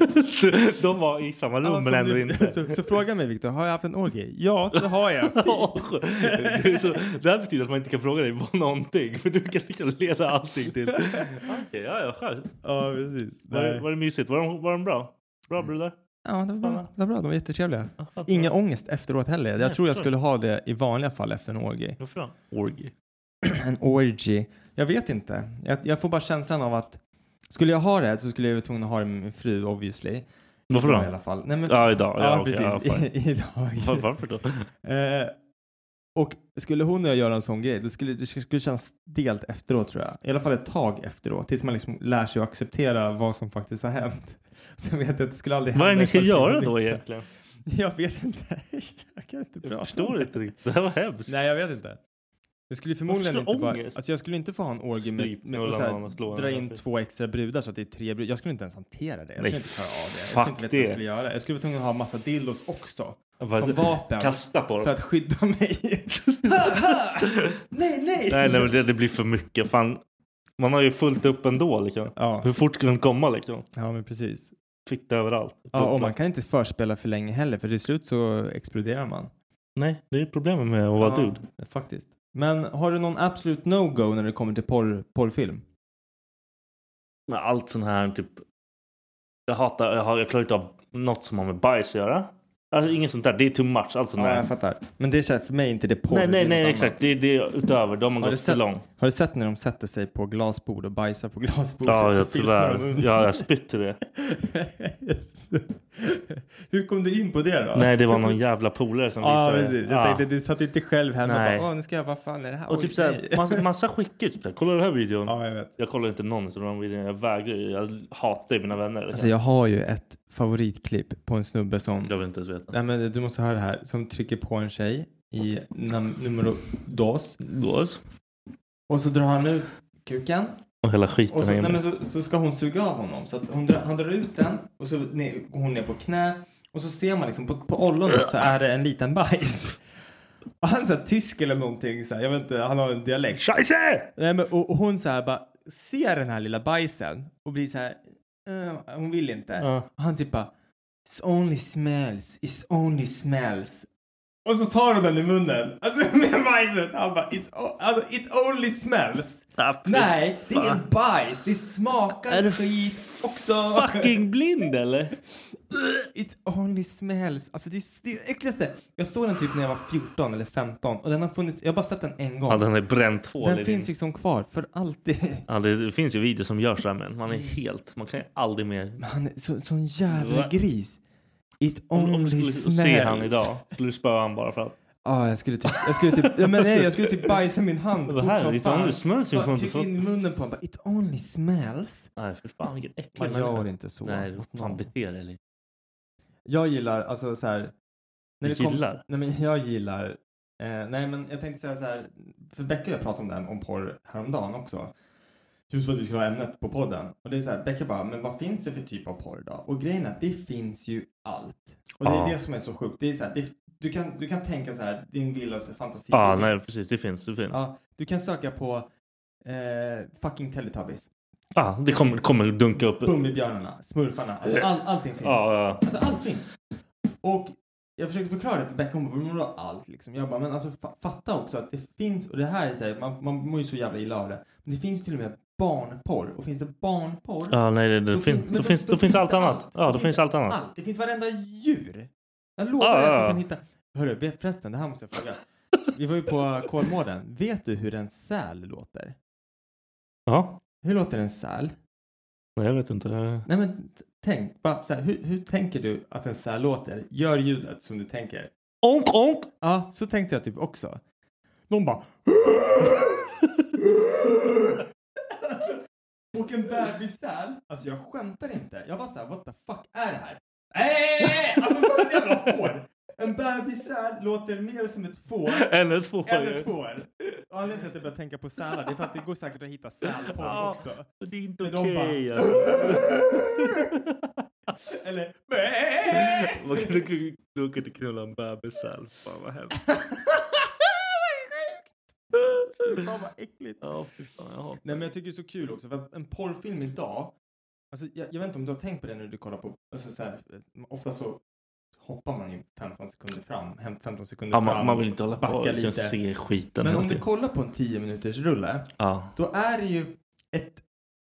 [SPEAKER 1] De var i samma rum
[SPEAKER 3] Ja,
[SPEAKER 1] men
[SPEAKER 3] som
[SPEAKER 1] ändå
[SPEAKER 3] du-
[SPEAKER 1] inte.
[SPEAKER 3] Så, så fråga mig Viktor, har jag haft en orgie? Ja, det har jag.
[SPEAKER 1] Det, är så, det här betyder att man inte kan fråga dig vad någonting. För du kan liksom leda allting till... Okej, ja, ja, själv.
[SPEAKER 3] ja, precis.
[SPEAKER 1] Var, det-
[SPEAKER 3] Nej.
[SPEAKER 1] var det mysigt? Var de, var de bra? Bra brudar?
[SPEAKER 3] Ja, det var, bra. det var bra. De var jättetrevliga.
[SPEAKER 1] Ja, fan.
[SPEAKER 3] Inga ångest efteråt heller. Jag
[SPEAKER 1] Nej,
[SPEAKER 3] tror jag
[SPEAKER 1] förstår.
[SPEAKER 3] skulle ha det i vanliga fall efter en orgie.
[SPEAKER 1] Varför då? Orgy.
[SPEAKER 3] En orgie. Jag vet inte. Jag, jag får bara känslan av att skulle jag ha det så skulle jag vara tvungen att ha det med min fru obviously.
[SPEAKER 1] Varför
[SPEAKER 3] I alla
[SPEAKER 1] då?
[SPEAKER 3] fall. Nej, men,
[SPEAKER 1] Ja, idag. Ja,
[SPEAKER 3] Ja,
[SPEAKER 1] okej, ja,
[SPEAKER 3] precis.
[SPEAKER 1] fine.
[SPEAKER 3] Idag.
[SPEAKER 1] Var- Varför då?
[SPEAKER 3] Eh, och skulle hon och jag göra en sån grej, det skulle, det skulle kännas stelt efteråt tror jag. I alla fall ett tag efteråt, tills man liksom lär sig att acceptera vad som faktiskt har hänt. Så jag vet att det skulle aldrig hända.
[SPEAKER 1] Vad är det ni ska
[SPEAKER 3] ifall jag
[SPEAKER 1] göra
[SPEAKER 3] hade-
[SPEAKER 1] då egentligen?
[SPEAKER 3] Jag vet inte. Jag kan inte prata
[SPEAKER 1] Jag
[SPEAKER 3] om
[SPEAKER 1] förstår inte riktigt. Det här var hemskt.
[SPEAKER 3] Nej, jag vet inte. Jag skulle förmodligen
[SPEAKER 1] Varför
[SPEAKER 3] inte
[SPEAKER 1] skulle
[SPEAKER 3] bara...
[SPEAKER 1] ångest?
[SPEAKER 3] Alltså jag skulle inte få ha en orgie med, med och
[SPEAKER 1] Strypnullar
[SPEAKER 3] så här,
[SPEAKER 1] någon och slå
[SPEAKER 3] dra
[SPEAKER 1] en
[SPEAKER 3] in
[SPEAKER 1] annan.
[SPEAKER 3] två extra brudar så att det är tre brudar. Jag skulle inte ens hantera det. Jag skulle
[SPEAKER 1] Nej,
[SPEAKER 3] inte klara av det. Jag
[SPEAKER 1] fuck
[SPEAKER 3] skulle inte veta vad jag
[SPEAKER 1] det.
[SPEAKER 3] skulle göra. Jag skulle vara tvungen att ha massa dildos också.
[SPEAKER 1] Vad-
[SPEAKER 3] Som vapen.
[SPEAKER 1] Kasta på dem.
[SPEAKER 3] För att skydda mig. Ha, ha! nej, nej!
[SPEAKER 1] Nej, nej men det, det blir för mycket. Fan, man har ju fullt upp ändå. Liksom.
[SPEAKER 3] Ja,
[SPEAKER 1] Hur fort ska de komma? Liksom?
[SPEAKER 3] ja, men precis.
[SPEAKER 1] Fitta överallt.
[SPEAKER 3] Ja, och man kan inte förspela för länge heller för till slut så exploderar man.
[SPEAKER 1] Nej, det är problemet med att vara
[SPEAKER 3] Ja,
[SPEAKER 1] dude.
[SPEAKER 3] Faktiskt. Men har du någon absolut no-go när det kommer till porr, porrfilm?
[SPEAKER 1] Med Allt sånt här typ... Jag hatar, jag, har, jag klarar inte av något som har med bajs att göra. Alltså, inget sånt där, det är too much. Allt sånt
[SPEAKER 3] Ja,
[SPEAKER 1] där.
[SPEAKER 3] jag fattar. Men det är så här, för mig är inte det porr.
[SPEAKER 1] Nej,
[SPEAKER 3] det är
[SPEAKER 1] nej,
[SPEAKER 3] något
[SPEAKER 1] nej,
[SPEAKER 3] annat.
[SPEAKER 1] exakt. Det, det är utöver. Då har man
[SPEAKER 3] Har du
[SPEAKER 1] gått
[SPEAKER 3] sett-
[SPEAKER 1] för långt.
[SPEAKER 3] Har du sett när de sätter sig på glasbord och bajsar på glasbordet?
[SPEAKER 1] Ja,
[SPEAKER 3] så
[SPEAKER 1] jag,
[SPEAKER 3] filmar de
[SPEAKER 1] tyvärr.
[SPEAKER 3] under?
[SPEAKER 1] Ja, jag spytte det.
[SPEAKER 3] Yes. Hur kom du in på det då?
[SPEAKER 1] Nej, det var någon jävla polare som
[SPEAKER 3] Ja,
[SPEAKER 1] visade
[SPEAKER 3] precis. Jag
[SPEAKER 1] Ja.
[SPEAKER 3] tänkte, du satt inte själv hemma
[SPEAKER 1] Nej.
[SPEAKER 3] och bara, "Åh, nu ska jag, vad fan är det här?
[SPEAKER 1] Och
[SPEAKER 3] Oj,
[SPEAKER 1] typ såhär,
[SPEAKER 3] nej."
[SPEAKER 1] massa, massa skickar ut typ såhär, kolla den här videon.
[SPEAKER 3] Ja, jag vet.
[SPEAKER 1] Jag kollar inte någon av de videorna, jag vägrar ju. Jag hatar ju mina vänner. Liksom.
[SPEAKER 3] Alltså jag har ju ett favoritklipp på en snubbe som
[SPEAKER 1] Jag vill inte ens veta.
[SPEAKER 3] Nej men du måste höra det här. Som trycker på en tjej i nam- numero dos.
[SPEAKER 1] Gås.
[SPEAKER 3] Och så drar han ut kuken.
[SPEAKER 1] Och hela skiten
[SPEAKER 3] Och så,
[SPEAKER 1] är
[SPEAKER 3] nej, men
[SPEAKER 1] inne.
[SPEAKER 3] så, så ska hon suga av honom. Så att hon drar, han drar ut den och så ner, går hon ner på knä. Och så ser man liksom på, på ollonet så är det en liten bajs. Och han är så här, tysk eller någonting. Så här, jag vet inte, han har en dialekt.
[SPEAKER 1] Scheisse!
[SPEAKER 3] Nej, men, och, och hon så här bara ser den här lilla bajsen och blir så här. "Eh, hon vill inte.
[SPEAKER 1] Ja.
[SPEAKER 3] Och han typ bara. It's only smells, it's only smells. Och så tar hon den i munnen. Alltså med bajset. Han bara, it's o- alltså, it only smells.
[SPEAKER 1] Ah, fy
[SPEAKER 3] Nej, det är
[SPEAKER 1] fan.
[SPEAKER 3] bajs. Det smakar
[SPEAKER 1] Är du
[SPEAKER 3] skit också.
[SPEAKER 1] Fucking blind eller?
[SPEAKER 3] It only smells. Alltså det är det är det äckligaste. Jag såg den typ när jag var 14 eller 15 och den har funnits. Jag har bara sett den en gång.
[SPEAKER 1] Ja, den är bränt hål i
[SPEAKER 3] den
[SPEAKER 1] din-
[SPEAKER 3] finns liksom kvar för alltid.
[SPEAKER 1] ja, det finns ju videor som görs där men man är helt, man kan ju aldrig mer...
[SPEAKER 3] Men Han är så, sån jävla
[SPEAKER 1] Va?
[SPEAKER 3] gris. It
[SPEAKER 1] Om
[SPEAKER 3] only
[SPEAKER 1] om du skulle
[SPEAKER 3] smells.
[SPEAKER 1] se han idag, skulle du spöa han bara för att...
[SPEAKER 3] Ja, jag skulle typ, jag skulle typ, ja, men nej, jag skulle typ bajsa min hand
[SPEAKER 1] Det
[SPEAKER 3] fort
[SPEAKER 1] här,
[SPEAKER 3] som
[SPEAKER 1] it
[SPEAKER 3] fan.
[SPEAKER 1] only smells, you
[SPEAKER 3] Bara
[SPEAKER 1] fucking
[SPEAKER 3] tryck
[SPEAKER 1] fuck.
[SPEAKER 3] in i munnen på honom bara, it only smells.
[SPEAKER 1] Nej för fan vilken äcklig
[SPEAKER 3] Man gör inte så.
[SPEAKER 1] Nej,
[SPEAKER 3] mot
[SPEAKER 1] fan
[SPEAKER 3] någon.
[SPEAKER 1] bete dig lite.
[SPEAKER 3] Jag gillar, alltså så här.
[SPEAKER 1] Du
[SPEAKER 3] det kom-
[SPEAKER 1] gillar?
[SPEAKER 3] Nej men jag gillar, eh, nej men jag tänkte säga så här, för Becka och jag pratade om det här om porr häromdagen också. Just för att vi skulle ha ämnet på podden. Och det är så här, Becka bara, men vad finns det för typ av porr idag? Och grejen är att det finns ju allt. Och det är
[SPEAKER 1] Ja.
[SPEAKER 3] det som är så sjukt. Det är så här, det, du, kan, du kan tänka så här, din vildaste fantasi.
[SPEAKER 1] Ja, ah,
[SPEAKER 3] Det
[SPEAKER 1] nej
[SPEAKER 3] finns.
[SPEAKER 1] precis, det finns, det finns.
[SPEAKER 3] Ja, du kan söka på eh, fucking Teletubbies,
[SPEAKER 1] Ah, det kommer, kommer dunka upp.
[SPEAKER 3] Bumbibjörnarna, Smurfarna, alltså all, allting finns.
[SPEAKER 1] Ja, ja.
[SPEAKER 3] Alltså allt finns. Och jag försökte förklara det för Becka, hon bara, men vadå allt liksom? Jag bara, men alltså fa- fatta också att det finns, och det här är så här, man, man mår ju så jävla illa av det. Men det finns till och med barnporr, och finns det barnporr
[SPEAKER 1] Ja, nej, det, det,
[SPEAKER 3] då
[SPEAKER 1] fin,
[SPEAKER 3] men
[SPEAKER 1] då, finns, då, finns allt annat. Ja, då finns allt annat.
[SPEAKER 3] Allt. Det finns varenda djur. Jag lovar
[SPEAKER 1] Ja,
[SPEAKER 3] dig
[SPEAKER 1] ja,
[SPEAKER 3] att du
[SPEAKER 1] ja.
[SPEAKER 3] kan hitta. Hörru, be- förresten, det här måste jag fråga. Vi var ju på Kolmården. Vet du hur en säl låter?
[SPEAKER 1] Ja.
[SPEAKER 3] Hur låter en säl?
[SPEAKER 1] Nej, jag vet inte.
[SPEAKER 3] Nej men t- tänk, bara så här, hur, hur tänker du att en säl låter? Gör ljudet som du tänker.
[SPEAKER 1] Onk, onk!
[SPEAKER 3] Ja, så tänkte jag typ också. De bara... alltså, och en bebissäl. Alltså jag skämtar inte. Jag var så här, what the fuck är det här? Äh! Alltså som ett jävla får. En bebissäl låter mer som ett får
[SPEAKER 1] Än ett får.
[SPEAKER 3] än ett får. Och Anledningen till att jag började tänka på sälar det är för att det går säkert att hitta sälporr
[SPEAKER 1] Ja,
[SPEAKER 3] också.
[SPEAKER 1] Det är inte
[SPEAKER 3] Men de
[SPEAKER 1] okej
[SPEAKER 3] bara-
[SPEAKER 1] alltså.
[SPEAKER 3] Eller...
[SPEAKER 1] Man kan du- du kan inte knulla en bebis själv. Fan vad hemskt.
[SPEAKER 3] Fan vad äckligt.
[SPEAKER 1] Ja, fy fan. Jag hatar
[SPEAKER 3] Nej men jag tycker det är så kul också för att en porrfilm idag. Alltså jag, jag vet inte om du har tänkt på det när du kollar på. Alltså, så här, ofta så hoppar man ju 15 sekunder fram. hem- 15 sekunder
[SPEAKER 1] ja,
[SPEAKER 3] fram.
[SPEAKER 1] man, man vill inte hålla på.
[SPEAKER 3] backa
[SPEAKER 1] Jag kan
[SPEAKER 3] lite.
[SPEAKER 1] se skiten.
[SPEAKER 3] Men
[SPEAKER 1] hela
[SPEAKER 3] om du
[SPEAKER 1] tiden.
[SPEAKER 3] kollar på en 10 minuters rulle.
[SPEAKER 1] Ja.
[SPEAKER 3] Då är det ju ett.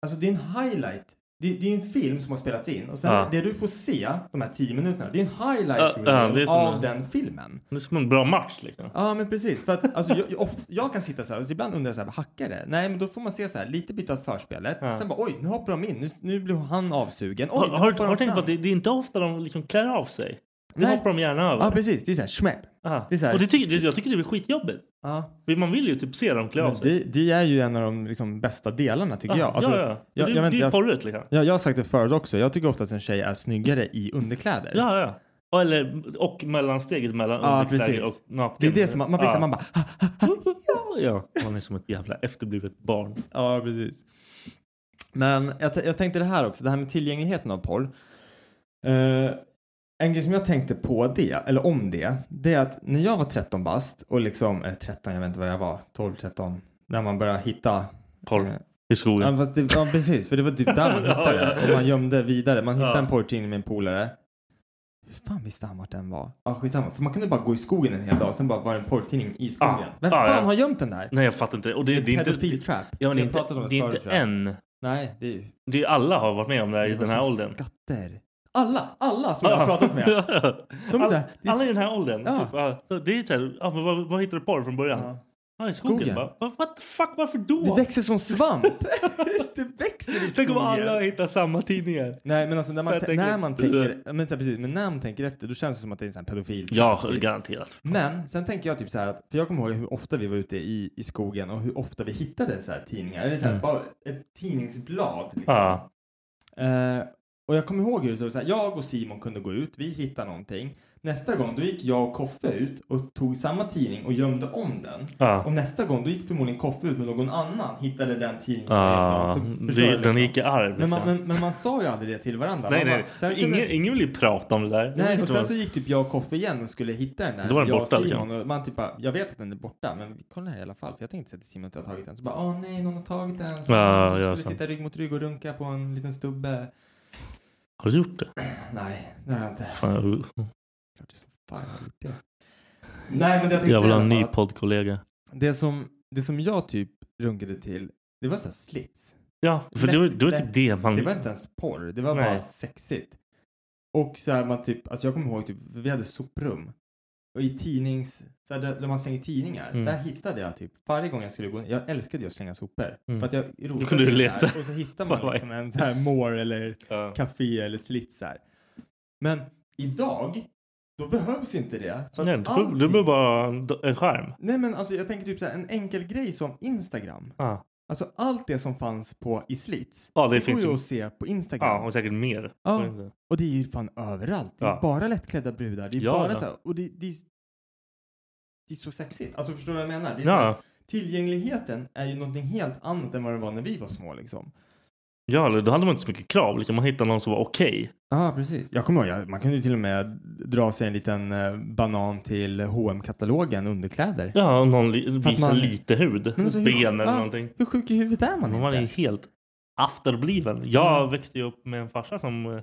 [SPEAKER 3] Alltså det är en highlight. Det, det är en film som har spelats in och sen
[SPEAKER 1] Ja.
[SPEAKER 3] det du får se de här 10 minuterna. Det är en
[SPEAKER 1] Ja,
[SPEAKER 3] highlight
[SPEAKER 1] ja, det är
[SPEAKER 3] reel
[SPEAKER 1] som
[SPEAKER 3] av
[SPEAKER 1] en-
[SPEAKER 3] den filmen.
[SPEAKER 1] Det är som en bra match liksom.
[SPEAKER 3] Ja men precis, för att alltså, jag, jag, of- jag kan sitta så här och ibland undrar jag så här, hackar det? Nej men då får man se så här, lite bit av förspelet,
[SPEAKER 1] Ja.
[SPEAKER 3] sen bara oj nu hoppar de in, nu, nu blir han avsugen. Oj,
[SPEAKER 1] har
[SPEAKER 3] nu
[SPEAKER 1] har,
[SPEAKER 3] hoppar
[SPEAKER 1] har du
[SPEAKER 3] de
[SPEAKER 1] tänkt på
[SPEAKER 3] fram.
[SPEAKER 1] att det, det är inte ofta de liksom klär av sig? Det
[SPEAKER 3] Nej.
[SPEAKER 1] hoppar de gärna över.
[SPEAKER 3] Ja precis, det är så här schmepp.
[SPEAKER 1] Ja.
[SPEAKER 3] Det är så här-
[SPEAKER 1] Och det tycker, det, jag tycker det blir skitjobbigt.
[SPEAKER 3] Ja.
[SPEAKER 1] För Man vill ju typ se dem klä av
[SPEAKER 3] Men
[SPEAKER 1] sig.
[SPEAKER 3] det, det är ju en av de liksom, bästa delarna tycker jag. Alltså,
[SPEAKER 1] ja, ja.
[SPEAKER 3] jag-
[SPEAKER 1] det,
[SPEAKER 3] jag vet
[SPEAKER 1] det
[SPEAKER 3] inte,
[SPEAKER 1] är
[SPEAKER 3] jag-
[SPEAKER 1] porrigt liksom.
[SPEAKER 3] Ja, jag har sagt det förut också, jag tycker ofta att en tjej är snyggare i underkläder.
[SPEAKER 1] Ja, ja. Och, eller, och mellansteget mellan
[SPEAKER 3] Ja,
[SPEAKER 1] underkläder
[SPEAKER 3] precis.
[SPEAKER 1] och naken.
[SPEAKER 3] Det är det som man, man blir så här, man bara "Ah, ah, ah."
[SPEAKER 1] Ja, ja. Man är som ett jävla efterblivet barn.
[SPEAKER 3] Ja, precis. Men jag, t- jag tänkte det här också, det här med tillgängligheten av porr. Eh, en grej som jag tänkte på det, eller om det, det är att när jag var 13 bast och liksom, eller 13, jag vet inte vad jag var, 12, 13, när man började hitta.
[SPEAKER 1] Porr
[SPEAKER 3] eh,
[SPEAKER 1] i skogen.
[SPEAKER 3] ja, fast det, ja, precis, för det var typ där man hittade
[SPEAKER 1] Ja, ja.
[SPEAKER 3] det och man gömde vidare. Man hittade
[SPEAKER 1] Ja.
[SPEAKER 3] en porrtidning med en polare. Hur fan visste han vart den var? Ja, skitsamma. För man kunde bara gå i skogen en hel dag och sen bara var det en porrtidning i skogen.
[SPEAKER 1] Ja.
[SPEAKER 3] Vem
[SPEAKER 1] Ja,
[SPEAKER 3] fan
[SPEAKER 1] ja.
[SPEAKER 3] har gömt den där?
[SPEAKER 1] Nej, jag fattar inte det. Och det, det är inte...
[SPEAKER 3] Pedofiltrap.
[SPEAKER 1] Ja, men det är
[SPEAKER 3] Jag
[SPEAKER 1] inte,
[SPEAKER 3] pratade om
[SPEAKER 1] det är
[SPEAKER 3] förut,
[SPEAKER 1] inte
[SPEAKER 3] tror jag.
[SPEAKER 1] en.
[SPEAKER 3] Nej, det är ju...
[SPEAKER 1] Det är, alla har varit med om det här i
[SPEAKER 3] Det var
[SPEAKER 1] den här
[SPEAKER 3] som
[SPEAKER 1] åldern.
[SPEAKER 3] Skatter. Alla, alla som jag har pratat med. De är så här, det är-
[SPEAKER 1] alla i den här åldern.
[SPEAKER 3] Ja.
[SPEAKER 1] Typ, ja, det är så här, ja, men vad, vad hittar du porr från början?
[SPEAKER 3] Ja.
[SPEAKER 1] Ja, i skogen.
[SPEAKER 3] Skogen.
[SPEAKER 1] Bara, "Vad- what the fuck, varför då?
[SPEAKER 3] Det växer som svamp. det växer i
[SPEAKER 1] Tänk om
[SPEAKER 3] skogen.
[SPEAKER 1] alla hittar samma tidningar.
[SPEAKER 3] Nej men alltså när man,
[SPEAKER 1] Fett
[SPEAKER 3] tän- när
[SPEAKER 1] äckligt.
[SPEAKER 3] man tänker, ja, men, så här, precis, men när man tänker efter då känns det som att det är en sån här pedofil.
[SPEAKER 1] Ja, garanterat.
[SPEAKER 3] Men sen tänker jag typ så här, att- för jag kommer ihåg hur ofta vi var ute i, i skogen och hur ofta vi hittade så här tidningar. Eller så här,
[SPEAKER 1] Mm.
[SPEAKER 3] bara ett tidningsblad liksom.
[SPEAKER 1] Ja.
[SPEAKER 3] Eh, och jag kommer ihåg hur det var så här, jag och Simon kunde gå ut, vi hittade någonting. Nästa gång då gick jag och Koffe ut och tog samma tidning och gömde om den.
[SPEAKER 1] Ja.
[SPEAKER 3] Och nästa gång då gick förmodligen Koffe ut med någon annan, hittade den tidningen.
[SPEAKER 1] Ja, Mm.
[SPEAKER 3] För- förstår
[SPEAKER 1] det,
[SPEAKER 3] du,
[SPEAKER 1] den
[SPEAKER 3] liksom?
[SPEAKER 1] gick i arv.
[SPEAKER 3] men,
[SPEAKER 1] Liksom.
[SPEAKER 3] man, men, men man sa ju aldrig det till varandra.
[SPEAKER 1] nej,
[SPEAKER 3] man
[SPEAKER 1] nej.
[SPEAKER 3] Bara,
[SPEAKER 1] nej.
[SPEAKER 3] kunde-
[SPEAKER 1] Ingen, ingen vill ju prata om det där.
[SPEAKER 3] Nej, och sen så gick typ jag och Koffe igen och skulle hitta den där.
[SPEAKER 1] Då var den
[SPEAKER 3] jag
[SPEAKER 1] borta,
[SPEAKER 3] och
[SPEAKER 1] liksom.
[SPEAKER 3] Simon, och man typ bara, jag vet att den är borta, men vi kollar här i alla fall. För jag tänkte säga till Simon att jag har tagit den. Så bara, åh nej, någon har tagit den.
[SPEAKER 1] ja,
[SPEAKER 3] så skulle
[SPEAKER 1] sant.
[SPEAKER 3] sitta rygg mot rygg och runka på en liten stubbe.
[SPEAKER 1] Har du gjort det?
[SPEAKER 3] Nej, det har jag inte.
[SPEAKER 1] Fan, jag-
[SPEAKER 3] Klart det är så fan jag har gjort det. Nej, men det jag tänkte
[SPEAKER 1] jag vill
[SPEAKER 3] säga
[SPEAKER 1] ha en
[SPEAKER 3] i alla
[SPEAKER 1] ny
[SPEAKER 3] fall att
[SPEAKER 1] poddkollega.
[SPEAKER 3] det som, det som jag typ runkade till, det var så här slits.
[SPEAKER 1] Ja, för det var, det var
[SPEAKER 3] Lätt, lätt.
[SPEAKER 1] typ det man...
[SPEAKER 3] Det var inte ens porr, det var
[SPEAKER 1] Nej.
[SPEAKER 3] bara sexigt. Och så här man typ, alltså jag kommer ihåg typ, vi hade soprum. Och i tidnings, så här, där där man slänger tidningar,
[SPEAKER 1] Mm.
[SPEAKER 3] där hittade jag typ, varje gång jag skulle gå in, jag älskade ju att slänga sopor.
[SPEAKER 1] Mm.
[SPEAKER 3] För att jag rotade
[SPEAKER 1] kunde du
[SPEAKER 3] i det där,
[SPEAKER 1] leta.
[SPEAKER 3] Och så hittar
[SPEAKER 1] Fan,
[SPEAKER 3] man
[SPEAKER 1] vad
[SPEAKER 3] liksom en så här more eller
[SPEAKER 1] Ja.
[SPEAKER 3] café eller slits här. Men idag, då behövs inte det. För att
[SPEAKER 1] Nej, du, du
[SPEAKER 3] allting-
[SPEAKER 1] behöver bara en, en skärm.
[SPEAKER 3] Nej men alltså jag tänker typ så här, en enkel grej som Instagram.
[SPEAKER 1] Ja.
[SPEAKER 3] Alltså allt det som fanns på i slits.
[SPEAKER 1] Ja, det
[SPEAKER 3] går
[SPEAKER 1] finns
[SPEAKER 3] ju
[SPEAKER 1] ju-
[SPEAKER 3] att se på Instagram.
[SPEAKER 1] ja, och säkert mer.
[SPEAKER 3] Ja.
[SPEAKER 1] Jag vet inte.
[SPEAKER 3] Och det är ju fan överallt. Det är
[SPEAKER 1] Ja.
[SPEAKER 3] bara lättklädda brudar. Det är
[SPEAKER 1] Ja,
[SPEAKER 3] bara
[SPEAKER 1] ja.
[SPEAKER 3] så här, och det, det, är, det är så sexigt. Alltså förstår du vad jag menar? Det är så här,
[SPEAKER 1] Ja,
[SPEAKER 3] tillgängligheten är ju någonting helt annat än vad det var när vi var små liksom.
[SPEAKER 1] ja, eller då hade man inte så mycket krav. Liksom, man hittade någon som var okej.
[SPEAKER 3] Ja, precis. Jag kommer ihåg, jag, man kunde ju till och med dra sig en liten eh, banan till hm katalogen underkläder.
[SPEAKER 1] Ja, och någon li-
[SPEAKER 3] För att
[SPEAKER 1] visar
[SPEAKER 3] man-
[SPEAKER 1] lite hud.
[SPEAKER 3] Men alltså, hur-
[SPEAKER 1] ben eller
[SPEAKER 3] ja.
[SPEAKER 1] någonting.
[SPEAKER 3] Hur sjuk i huvudet är man
[SPEAKER 1] Man,
[SPEAKER 3] inte?
[SPEAKER 1] man är ju helt afterbliven. Jag
[SPEAKER 3] Mm.
[SPEAKER 1] växte ju upp med en farsa som eh,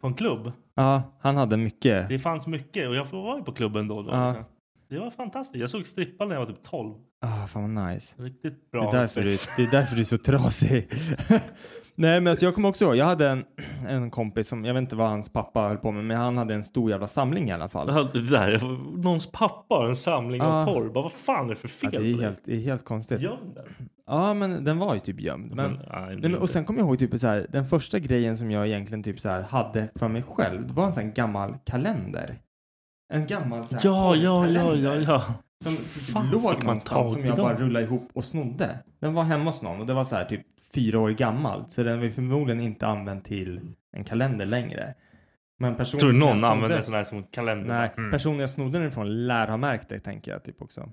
[SPEAKER 1] på en klubb.
[SPEAKER 3] Ja, han hade mycket.
[SPEAKER 1] Det fanns mycket och jag var ju på klubben då och då.
[SPEAKER 3] Ja.
[SPEAKER 1] Liksom. Det var fantastiskt. Jag såg strippa när jag var typ 12.
[SPEAKER 3] Ah, fan vad nice.
[SPEAKER 1] Riktigt
[SPEAKER 3] Det
[SPEAKER 1] bra.
[SPEAKER 3] är, därför du,
[SPEAKER 1] uppväxt.
[SPEAKER 3] det är därför du är så trasig. Nej, men alltså, jag kommer också ihåg, jag hade en, en kompis som, jag vet inte vad hans pappa höll på med, men han hade en stor jävla samling i alla fall.
[SPEAKER 4] Ja, Det där, någons pappa har en samling
[SPEAKER 3] Ah.
[SPEAKER 4] av porr. Bara, vad fan är det för
[SPEAKER 3] Ja,
[SPEAKER 4] fel?
[SPEAKER 3] det, är helt, det är helt konstigt. Ja,
[SPEAKER 4] Göm den.
[SPEAKER 3] men den var ju typ gömd. Men,
[SPEAKER 4] Men, nej,
[SPEAKER 3] nej, men, och sen kommer jag ihåg typ så här, den första grejen som jag egentligen typ så här hade för mig själv, det var en sån här gammal kalender. En gammal så här
[SPEAKER 4] Ja, ja, ja,
[SPEAKER 3] porrkalender
[SPEAKER 4] ja, ja.
[SPEAKER 3] Som så typ
[SPEAKER 4] Fan, fick
[SPEAKER 3] låg
[SPEAKER 4] man
[SPEAKER 3] någonstans
[SPEAKER 4] tag
[SPEAKER 3] som
[SPEAKER 4] i
[SPEAKER 3] jag
[SPEAKER 4] dem?
[SPEAKER 3] bara rullade ihop och snodde. Den var hemma hos någon och det var så här typ fyra år gammalt. Så den var ju förmodligen inte använd till en kalender längre. Men personen
[SPEAKER 4] Tror du
[SPEAKER 3] som jag
[SPEAKER 4] någon
[SPEAKER 3] snodde-
[SPEAKER 4] använder en sån här som kalender?
[SPEAKER 3] Nej,
[SPEAKER 4] Mm.
[SPEAKER 3] personen jag snodde den ifrån lär ha märkt det tänker jag typ också.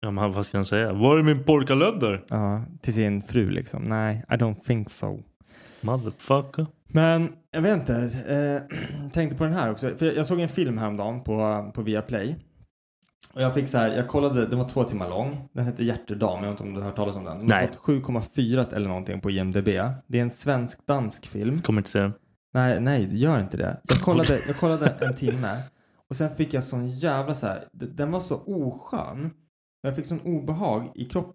[SPEAKER 4] Ja, men vad ska han säga? Var är min porrkalender?
[SPEAKER 3] Ja, till sin fru liksom. Nej, I don't think so.
[SPEAKER 4] Motherfucker.
[SPEAKER 3] Men jag vet inte. Eh, tänkte på den här också. För jag, jag såg en film häromdagen på, på Viaplay. Och jag fick så här, jag kollade, den var två timmar lång. Den hette Hjärtedam, jag vet inte om du har hört talas om den. Den har
[SPEAKER 4] Nej.
[SPEAKER 3] fått 7,4 eller någonting på IMDB. Det är en svensk-dansk film.
[SPEAKER 4] Kommer inte se den.
[SPEAKER 3] Nej, nej, gör inte det. Jag kollade, jag kollade en timme och sen fick jag sån jävla så här, d- den var så oskön. Jag fick sån obehag i kroppen.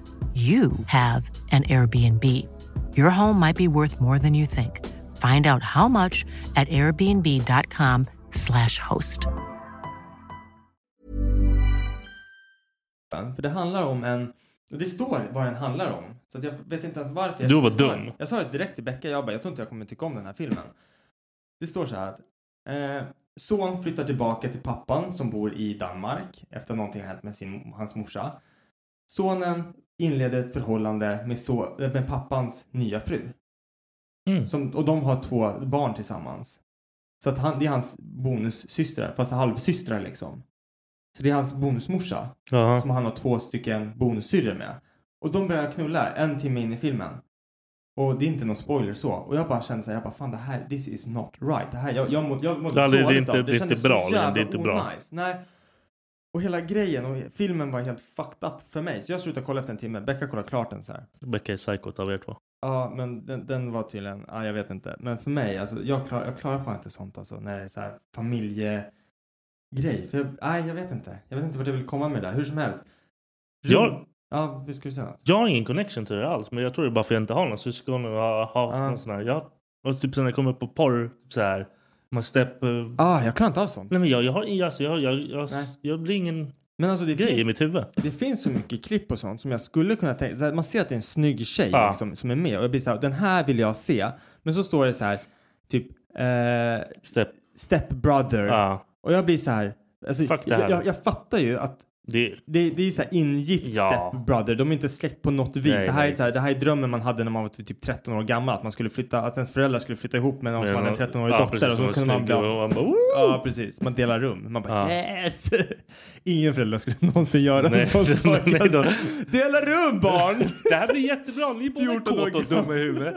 [SPEAKER 2] you have an Airbnb. Your home might be worth more than you think. Find out how much at airbnb.com/slash host.
[SPEAKER 3] För det handlar om en... Och det står vad den handlar om. Så att jag vet inte ens varför. Jag
[SPEAKER 4] Du var
[SPEAKER 3] jag sa-
[SPEAKER 4] dum.
[SPEAKER 3] Jag sa det direkt till Becka. Jag bara, jag tror inte jag kommer tycka om den här filmen. Det står så här att... Eh, son flyttar tillbaka till pappan som bor i Danmark efter någonting har hänt med sin, hans morsa. Sonen inleder ett förhållande med, so, eh, med pappans nya fru.
[SPEAKER 4] Mm.
[SPEAKER 3] Som, och de har två barn tillsammans. Så att han, det är hans bonussystrar, fast halvsystrar liksom. Så det är hans bonusmorsa
[SPEAKER 4] Jaha.
[SPEAKER 3] som han har två stycken bonussyrror med. Och de börjar knulla en timme in i filmen. Och det är inte någon spoiler så. Och jag bara kände så här, jag bara fan det här, this is not right. Det här, jag, jag, må, jag mådde
[SPEAKER 4] Ja, det- det är
[SPEAKER 3] dåligt
[SPEAKER 4] inte-
[SPEAKER 3] av
[SPEAKER 4] det är inte
[SPEAKER 3] kändes
[SPEAKER 4] bra,
[SPEAKER 3] så
[SPEAKER 4] det är
[SPEAKER 3] jävla
[SPEAKER 4] inte bra.
[SPEAKER 3] onajs. Nej. Och hela grejen och filmen var helt fucked up för mig. Så jag slutade kolla efter en timme. Becka kollade klart den så här.
[SPEAKER 4] Becka är psykot av er två.
[SPEAKER 3] Ja, men den, den var tydligen, ja jag vet inte. Men för mig, alltså jag, klar, jag klarar fan inte sånt alltså. När det är så här familjegrej. För jag, nej, jag vet inte. Jag vet inte vart jag vill komma med det där. Hur som helst.
[SPEAKER 4] Jag,
[SPEAKER 3] Ja, vi skulle säga något.
[SPEAKER 4] jag har ingen connection till det alls. Men jag tror det är bara för att jag inte har några syskon och har haft
[SPEAKER 3] Ah.
[SPEAKER 4] någon sån här. Jag, och typ sen när jag kommer på porr så här. Man step... eh,
[SPEAKER 3] Ah, jag klarar inte av sånt.
[SPEAKER 4] Nej men jag, jag har alltså, jag, jag, jag,
[SPEAKER 3] Nej.
[SPEAKER 4] jag blir ingen
[SPEAKER 3] Men alltså det
[SPEAKER 4] grej i
[SPEAKER 3] finns,
[SPEAKER 4] mitt huvud.
[SPEAKER 3] det finns så mycket klipp och sånt som jag skulle kunna tänka, så här, man ser att det är en snygg tjej
[SPEAKER 4] Ja.
[SPEAKER 3] liksom, som är med och jag blir så här, den här vill jag se. Men så står det så här, typ eh,
[SPEAKER 4] Step.
[SPEAKER 3] stepbrother.
[SPEAKER 4] Ja.
[SPEAKER 3] Och jag blir så här, alltså,
[SPEAKER 4] Fuck det här.
[SPEAKER 3] jag, jag, jag fattar ju att
[SPEAKER 4] Det,
[SPEAKER 3] det, det är ju så här ingift
[SPEAKER 4] Ja.
[SPEAKER 3] stepbrother, de är inte släkt på något vis.
[SPEAKER 4] Nej,
[SPEAKER 3] det, här är
[SPEAKER 4] nej.
[SPEAKER 3] så här, det här är drömmen man hade när man var typ 13 år gammal, att man skulle flytta, att ens föräldrar skulle flytta ihop med någon som hade en 13-årig
[SPEAKER 4] ja,
[SPEAKER 3] dotter
[SPEAKER 4] precis,
[SPEAKER 3] och
[SPEAKER 4] som
[SPEAKER 3] så
[SPEAKER 4] var
[SPEAKER 3] kunde man
[SPEAKER 4] snygg
[SPEAKER 3] bli
[SPEAKER 4] och man bara, "Woo!"
[SPEAKER 3] Ja, precis. Man delar rum. Man bara
[SPEAKER 4] Ja.
[SPEAKER 3] yes! Ingen förälder skulle någonsin göra en
[SPEAKER 4] Nej,
[SPEAKER 3] sån
[SPEAKER 4] nej,
[SPEAKER 3] sak.
[SPEAKER 4] nej då.
[SPEAKER 3] Dela rum barn!
[SPEAKER 4] Det här blir jättebra. Ni är båda
[SPEAKER 3] 14 år
[SPEAKER 4] kåta och dumma i huvudet.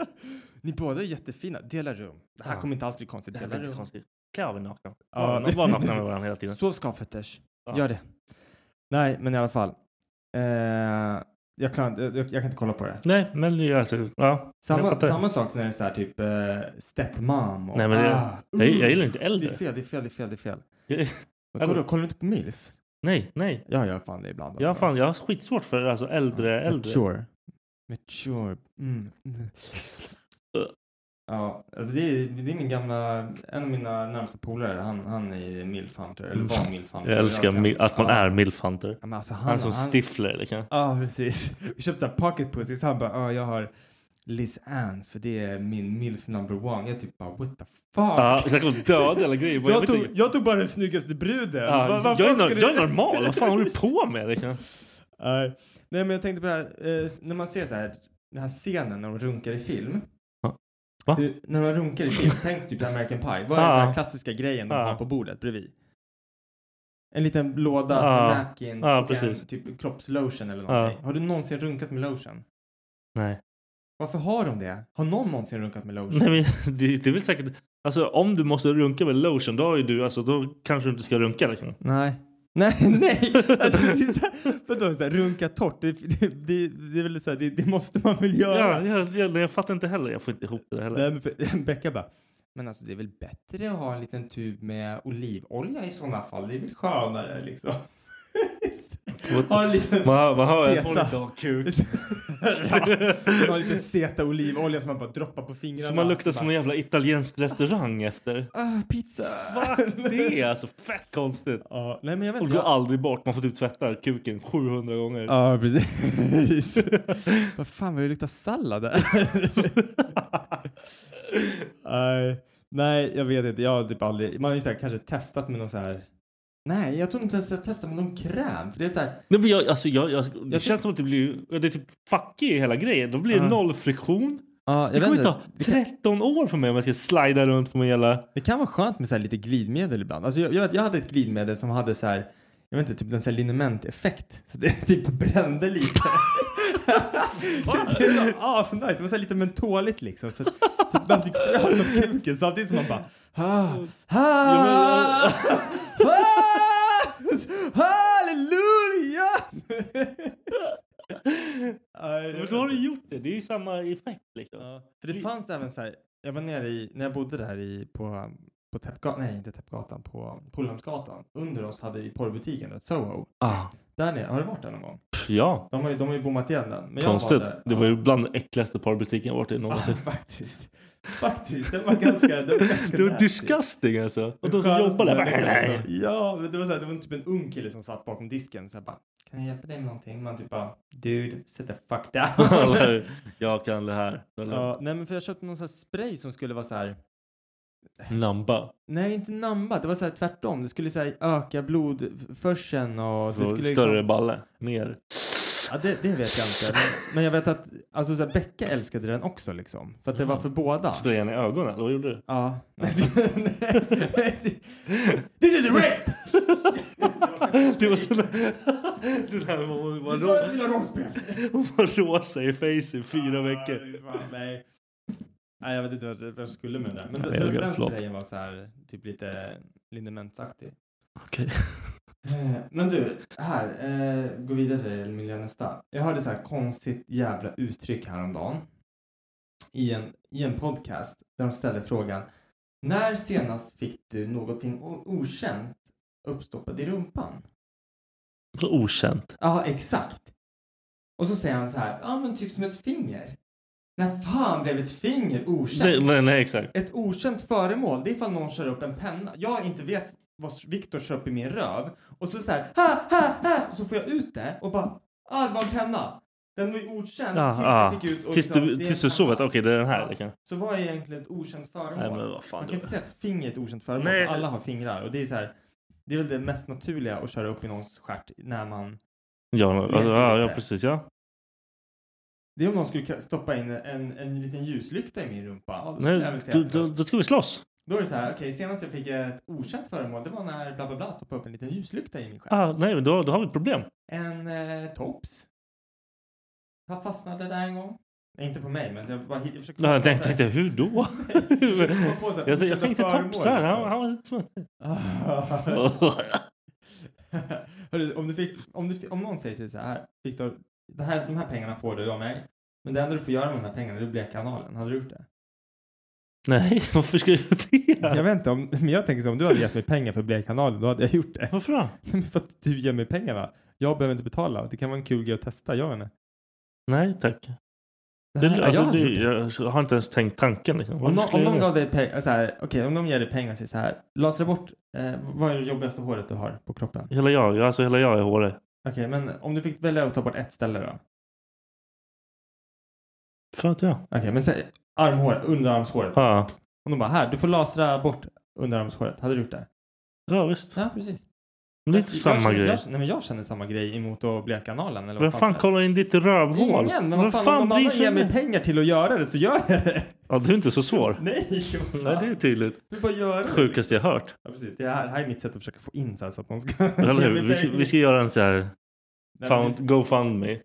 [SPEAKER 3] Ni båda är jättefina. Dela rum. Det här
[SPEAKER 4] Ja.
[SPEAKER 3] kommer inte alls bli konstigt.
[SPEAKER 4] Det här blir
[SPEAKER 3] Dela
[SPEAKER 4] inte
[SPEAKER 3] rum.
[SPEAKER 4] konstigt. Klä av er nakna.
[SPEAKER 3] Ja.
[SPEAKER 4] Bara bara nakna med varandra hela tiden.
[SPEAKER 3] Sov skavfötters.
[SPEAKER 4] Ja.
[SPEAKER 3] Gör det. Nej, men i alla fall. Eh, jag, klarar, inte- jag, jag kan inte kolla på det.
[SPEAKER 4] Nej, men det är alltså, ja. jag
[SPEAKER 3] Samma,
[SPEAKER 4] fattar.
[SPEAKER 3] samma sak när det är så här typ eh, stepmom. Och, Ah.
[SPEAKER 4] Nej, men det- jag, jag gillar inte
[SPEAKER 3] det. Det är
[SPEAKER 4] äldre.
[SPEAKER 3] fel, det är fel, det är fel, det är fel.
[SPEAKER 4] Jag-
[SPEAKER 3] Men Kolla, kollar du inte på milf?
[SPEAKER 4] Nej, nej.
[SPEAKER 3] Jag gör fan det ibland.
[SPEAKER 4] Jag, har
[SPEAKER 3] alltså.
[SPEAKER 4] fan, jag har skitsvårt för alltså, äldre, äldre.
[SPEAKER 3] Mature. Mature. Mm. Mm.
[SPEAKER 2] Ja, det är, det är min gamla, en av mina närmsta polare, han, han är milf hunter, eller var milf hunter.
[SPEAKER 1] Jag älskar
[SPEAKER 2] kan-
[SPEAKER 1] mil- att man
[SPEAKER 2] ja.
[SPEAKER 1] är milfhunter.
[SPEAKER 2] Ja, men alltså,
[SPEAKER 1] han, är som Stifler. Liksom.
[SPEAKER 2] Ja, precis. Vi köpte så här pocket pussies. Han bara, ja, jag har Liz Anns för det är min milf number one. Jag typ bara, what the fuck?
[SPEAKER 1] Ja, exakt, och döda alla grejer. Bara, jag
[SPEAKER 2] Jag
[SPEAKER 1] vet
[SPEAKER 2] tog,
[SPEAKER 1] inte.
[SPEAKER 2] jag tog bara den snyggaste bruden.
[SPEAKER 1] typ? Ja,
[SPEAKER 2] Vad- vad
[SPEAKER 1] jag, är
[SPEAKER 2] fan
[SPEAKER 1] no-
[SPEAKER 2] ska du-
[SPEAKER 1] jag är normal, vad fan håller du på med? Liksom?
[SPEAKER 2] Nej. Nej, men jag tänkte på det här, eh, när man ser så här, den här scenen när de runkar i film.
[SPEAKER 1] Va?
[SPEAKER 2] Hur, när de runkar i film, tänk typ American Pie. Vad är
[SPEAKER 1] Ja.
[SPEAKER 2] den här klassiska grejen de
[SPEAKER 1] Ja.
[SPEAKER 2] har på bordet bredvid? En liten låda
[SPEAKER 1] Ja.
[SPEAKER 2] med napkins
[SPEAKER 1] Ja,
[SPEAKER 2] och en
[SPEAKER 1] precis.
[SPEAKER 2] typ kroppslotion eller
[SPEAKER 1] Ja.
[SPEAKER 2] någonting. Har du någonsin runkat med lotion?
[SPEAKER 1] Nej.
[SPEAKER 2] Varför har de det? Har någon någonsin runkat med lotion?
[SPEAKER 1] Nej, men det, det är väl säkert... Alltså om du måste runka med lotion, då, har ju du, alltså, då kanske du inte ska runka liksom.
[SPEAKER 2] Nej. Nej, nej! Alltså, det är så här, vadå, så här, runka torrt? Det, det, det, det är väl så här, det, det måste man väl göra?
[SPEAKER 1] Ja, jag, jag, jag fattar inte heller. Jag får inte ihop det heller.
[SPEAKER 2] Nej, men för, Becka bara, men alltså det är väl bättre att ha en liten tub med olivolja i sådana fall? Det är väl skönare liksom? ha en liten
[SPEAKER 1] Vad- vad har jag?
[SPEAKER 2] Zeta.
[SPEAKER 1] Får ni dag kuk?
[SPEAKER 2] ja, ha lite seta olivolja som man bara droppar på fingrarna.
[SPEAKER 1] Som man luktar som
[SPEAKER 2] Bara,
[SPEAKER 1] en jävla italiensk restaurang efter.
[SPEAKER 2] "Ah, pizza!
[SPEAKER 1] Va? Det är alltså fett konstigt.
[SPEAKER 2] Ja, nej men jag vet
[SPEAKER 1] Och
[SPEAKER 2] inte.
[SPEAKER 1] går
[SPEAKER 2] jag-
[SPEAKER 1] aldrig bort. Man får typ tvätta kuken 700 gånger.
[SPEAKER 2] Ja, precis. vad fan vad det luktar sallad där. Nej, nej, jag vet inte. Jag har typ aldrig, man har ju så här, kanske testat med någon så här. Nej, jag tror inte ens jag testar med någon kräm. För det är så här,
[SPEAKER 1] Nej, men jag, alltså, jag, jag, det
[SPEAKER 2] Jag
[SPEAKER 1] känns som att det blir... Det är typ fucky i hela grejen. Då blir det
[SPEAKER 2] Ja.
[SPEAKER 1] noll friktion.
[SPEAKER 2] ja,
[SPEAKER 1] Det kommer ta 13 år för mig om jag ska slida runt på min jävla...
[SPEAKER 2] Det kan vara skönt med så här lite glidmedel ibland. Alltså jag, jag, vet, jag hade ett glidmedel som hade så här, jag vet inte, typ en så här linementeffekt. Så det typ brände lite. det var asnice. Det var så här lite mentoligt liksom. Så, så att man typ frös om kuken samtidigt som man bara ha, ha, ha, halleluja! Nej, det
[SPEAKER 1] Men
[SPEAKER 2] var-
[SPEAKER 1] då har du gjort det. Det är ju samma effekt liksom.
[SPEAKER 2] Ja, för det fanns även så här, jag var nere i, när jag bodde där i, på, på Täppgatan, nej inte Täppgatan, på Polhamsgatan. Under oss hade vi porrbutiken, ett Soho.
[SPEAKER 1] Ah.
[SPEAKER 2] Där nere, har du varit där någon gång?
[SPEAKER 1] Ja,
[SPEAKER 2] De har ju, de har ju bommat igen den. Men jag
[SPEAKER 1] konstigt.
[SPEAKER 2] Var där.
[SPEAKER 1] Det var ju bland det äckligaste parbutiken jag varit i
[SPEAKER 2] ja,
[SPEAKER 1] någonsin.
[SPEAKER 2] faktiskt. Faktiskt, det var ganska... Det var, ganska
[SPEAKER 1] Det var
[SPEAKER 2] nasty.
[SPEAKER 1] disgusting alltså. Och de som
[SPEAKER 2] Skönaste
[SPEAKER 1] jobbar där
[SPEAKER 2] människan,
[SPEAKER 1] bara...
[SPEAKER 2] alltså. Ja, men det var så här, det var typ en ung kille som satt bakom disken så här bara kan jag hjälpa dig med någonting? Man typ bara dude, sit the fuck down.
[SPEAKER 1] Eller hur? jag kan det här. Eller,
[SPEAKER 2] ja, nej men för jag köpte någon sån här spray som skulle vara så här
[SPEAKER 1] Namba.
[SPEAKER 2] Nej, inte namba. Det var så här tvärtom. Det skulle så här, öka blodförseln och... Det
[SPEAKER 1] Större
[SPEAKER 2] skulle liksom-
[SPEAKER 1] balle. Mer.
[SPEAKER 2] Ja, det, det vet jag inte. Men, men jag vet att alltså, så här, Becka älskade den också liksom. För att
[SPEAKER 1] Mm.
[SPEAKER 2] det var för båda.
[SPEAKER 1] Sprayade han i ögonen? Eller vad gjorde du?
[SPEAKER 2] Ja. This is rape!
[SPEAKER 1] Det var sån där... Sån där hon var,
[SPEAKER 2] Du sa att du ville ha
[SPEAKER 1] rå,
[SPEAKER 2] rollspel!
[SPEAKER 1] hon var rosa i face i fyra veckor.
[SPEAKER 2] Ja, fan, Nej. Nej, jag vet inte vad jag skulle med det där. Men
[SPEAKER 1] Nej,
[SPEAKER 2] den-
[SPEAKER 1] jag
[SPEAKER 2] den,
[SPEAKER 1] vet,
[SPEAKER 2] den
[SPEAKER 1] förlåt.
[SPEAKER 2] grejen var så här, typ lite linementsaktig.
[SPEAKER 1] Okej.
[SPEAKER 2] Eh, Men du, här, eh, gå vidare till det, miljö nästa. Jag hörde så här konstigt jävla uttryck häromdagen i en, i en podcast där de ställde frågan När senast fick du någonting o- okänt uppstoppat i rumpan?
[SPEAKER 1] Så Okänt.
[SPEAKER 2] Ja, exakt. Och så säger han så här, ja men typ som ett finger. När fan blev ett finger
[SPEAKER 1] Nej,
[SPEAKER 2] okänt?
[SPEAKER 1] nej, nej, exakt.
[SPEAKER 2] Ett okänt föremål, det är ifall någon kör upp en penna. Jag inte vet vad Viktor kör upp i min röv. Och så så här, ha, ha, ha! Och så får jag ut det och bara, ah det var en penna. Den var ju okänd
[SPEAKER 1] Ja,
[SPEAKER 2] tills
[SPEAKER 1] ja.
[SPEAKER 2] jag fick ut och
[SPEAKER 1] Tills
[SPEAKER 2] liksom,
[SPEAKER 1] du,
[SPEAKER 2] det är
[SPEAKER 1] tills
[SPEAKER 2] en
[SPEAKER 1] du såg att
[SPEAKER 2] penna.
[SPEAKER 1] okej, det är den här.
[SPEAKER 2] Ja.
[SPEAKER 1] Liksom.
[SPEAKER 2] Så vad är egentligen ett okänt föremål?
[SPEAKER 1] Nej, men vad fan.
[SPEAKER 2] Man kan inte säga att finger är ett okänt föremål,
[SPEAKER 1] Nej.
[SPEAKER 2] för alla har fingrar. Och det är så här, det är väl det mest naturliga att köra upp i någons stjärt när man
[SPEAKER 1] Ja,
[SPEAKER 2] Vet
[SPEAKER 1] ja, ja,
[SPEAKER 2] du
[SPEAKER 1] ja,
[SPEAKER 2] det?
[SPEAKER 1] precis. Ja.
[SPEAKER 2] Det är om någon skulle ka- stoppa in en, en liten ljuslykta i min rumpa. Ja, då skulle jag
[SPEAKER 1] Nej,
[SPEAKER 2] väl säga
[SPEAKER 1] då,
[SPEAKER 2] att-
[SPEAKER 1] då, då ska vi slåss.
[SPEAKER 2] Då är det så här, okej, senast jag fick ett okänt föremål, det var när bla bla bla stoppade upp en liten ljuslykta i min skärm.
[SPEAKER 1] Ah, nej, men då, då har vi ett problem.
[SPEAKER 2] En eh, tops. Jag fastnade där en gång. Nej, inte på mig, men jag bara hit- jag försökte...
[SPEAKER 1] Ja, jag tänkte, tänkte hur då? jag, jag tänkte topsar. Han, han var lite som
[SPEAKER 2] Hörru, om, du fick, om, du, fick- om någon säger till dig så här, Viktor, det här, de här pengarna får du av mig, men det enda du får göra med de här pengarna är att bleka analen. Hade du gjort det?
[SPEAKER 1] Nej, varför ska jag göra
[SPEAKER 2] Jag
[SPEAKER 1] det?
[SPEAKER 2] vet inte, om, men jag tänker så om du hade gett mig pengar för Blekanalen då hade jag gjort det.
[SPEAKER 1] Varför då?
[SPEAKER 2] Men för att du ger mig pengarna. Jag behöver inte betala. Det kan vara en kul grej att testa, jag vet inte.
[SPEAKER 1] Nej, tack. Det,
[SPEAKER 2] Nej,
[SPEAKER 1] alltså,
[SPEAKER 2] jag
[SPEAKER 1] det,
[SPEAKER 2] hade gjort
[SPEAKER 1] jag har inte ens tänkt tanken. Liksom.
[SPEAKER 2] Om,
[SPEAKER 1] Varför
[SPEAKER 2] någon,
[SPEAKER 1] skulle
[SPEAKER 2] om
[SPEAKER 1] jag
[SPEAKER 2] någon
[SPEAKER 1] göra
[SPEAKER 2] gav dig pengar, så här, okej, om de ger dig pengar, så, så här, lasra bort, eh, vad är det jobbigaste håret du har på kroppen?
[SPEAKER 1] det? Hela jag, alltså hela jag är hårig.
[SPEAKER 2] Okej, men om du fick välja att ta bort ett ställe då? Okej,
[SPEAKER 1] Fan vet jag.
[SPEAKER 2] men säg armhåret, underarmshåret.
[SPEAKER 1] Ja.
[SPEAKER 2] Om de bara, här, du får lasra bort underarmshåret. Hade du gjort det?
[SPEAKER 1] Ja, visst.
[SPEAKER 2] Ja, precis.
[SPEAKER 1] Men det är inte
[SPEAKER 2] Jag-
[SPEAKER 1] samma
[SPEAKER 2] jag, känner-
[SPEAKER 1] grej.
[SPEAKER 2] Jag, nej, men jag känner samma grej emot att bleka analen. Eller
[SPEAKER 1] Vem
[SPEAKER 2] vad
[SPEAKER 1] fan
[SPEAKER 2] det är.
[SPEAKER 1] kollar in ditt rövhål?
[SPEAKER 2] Ingen, men vad fan, om någon
[SPEAKER 1] bryr
[SPEAKER 2] annan
[SPEAKER 1] sig
[SPEAKER 2] ger
[SPEAKER 1] om
[SPEAKER 2] mig
[SPEAKER 1] det?
[SPEAKER 2] pengar till att göra det så gör jag det.
[SPEAKER 1] Ja, du är inte så svår.
[SPEAKER 2] Nej,
[SPEAKER 1] Nej, det är tydligt.
[SPEAKER 2] du bara gör det.
[SPEAKER 1] Sjukaste jag hört.
[SPEAKER 2] Ja, precis. Det här, här är mitt sätt att försöka få in så, här, så att någon ska
[SPEAKER 1] Eller
[SPEAKER 2] ge
[SPEAKER 1] hur?
[SPEAKER 2] mig
[SPEAKER 1] Vi, ska-
[SPEAKER 2] pengar.
[SPEAKER 1] vi ska göra en så här...
[SPEAKER 2] men
[SPEAKER 1] Found,
[SPEAKER 2] visst-
[SPEAKER 1] go fund me.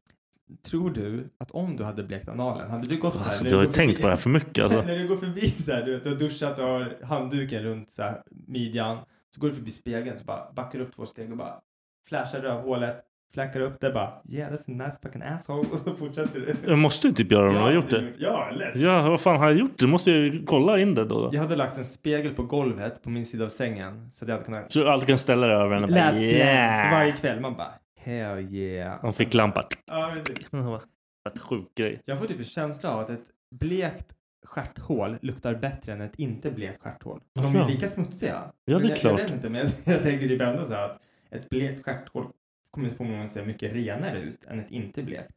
[SPEAKER 2] Tror du att om du hade blekt analen, hade du gått så här?
[SPEAKER 1] Alltså,
[SPEAKER 2] när
[SPEAKER 1] du har ju
[SPEAKER 2] går
[SPEAKER 1] tänkt på det här för mycket. Alltså.
[SPEAKER 2] när du går förbi så här, du, vet, du har duschat och har handduken runt så här, midjan. Så går du förbi spegeln så bara backar du upp två steg och bara flashar rövhålet, flackar upp det bara yeah that's a nice fucking asshole och så fortsätter du.
[SPEAKER 1] Jag måste ju typ göra det om jag har gjort det.
[SPEAKER 2] Ja, lätt.
[SPEAKER 1] Ja, vad fan har jag gjort? det? måste jag ju kolla in det då. då.
[SPEAKER 2] Jag hade lagt en spegel på golvet på min sida av sängen så att jag hade kunnat
[SPEAKER 1] Så du alltid kan ställa dig över henne. och bara,
[SPEAKER 2] läsgläns varje
[SPEAKER 1] Yeah!
[SPEAKER 2] kväll. Man bara hell yeah.
[SPEAKER 1] Man fick lampa.
[SPEAKER 2] Ja, precis.
[SPEAKER 1] Vad sjuk grej.
[SPEAKER 2] Jag får typ en känsla av att ett blekt stjärthål luktar bättre än ett inte blekt stjärthål.
[SPEAKER 1] Varför
[SPEAKER 2] De är
[SPEAKER 1] då?
[SPEAKER 2] lika smutsiga.
[SPEAKER 1] Ja, det är
[SPEAKER 2] Men jag,
[SPEAKER 1] klart.
[SPEAKER 2] Jag vet inte, men jag, jag tänker typ ändå så här att ett blekt stjärthål kommer förmodligen se mycket renare ut än ett inte blekt.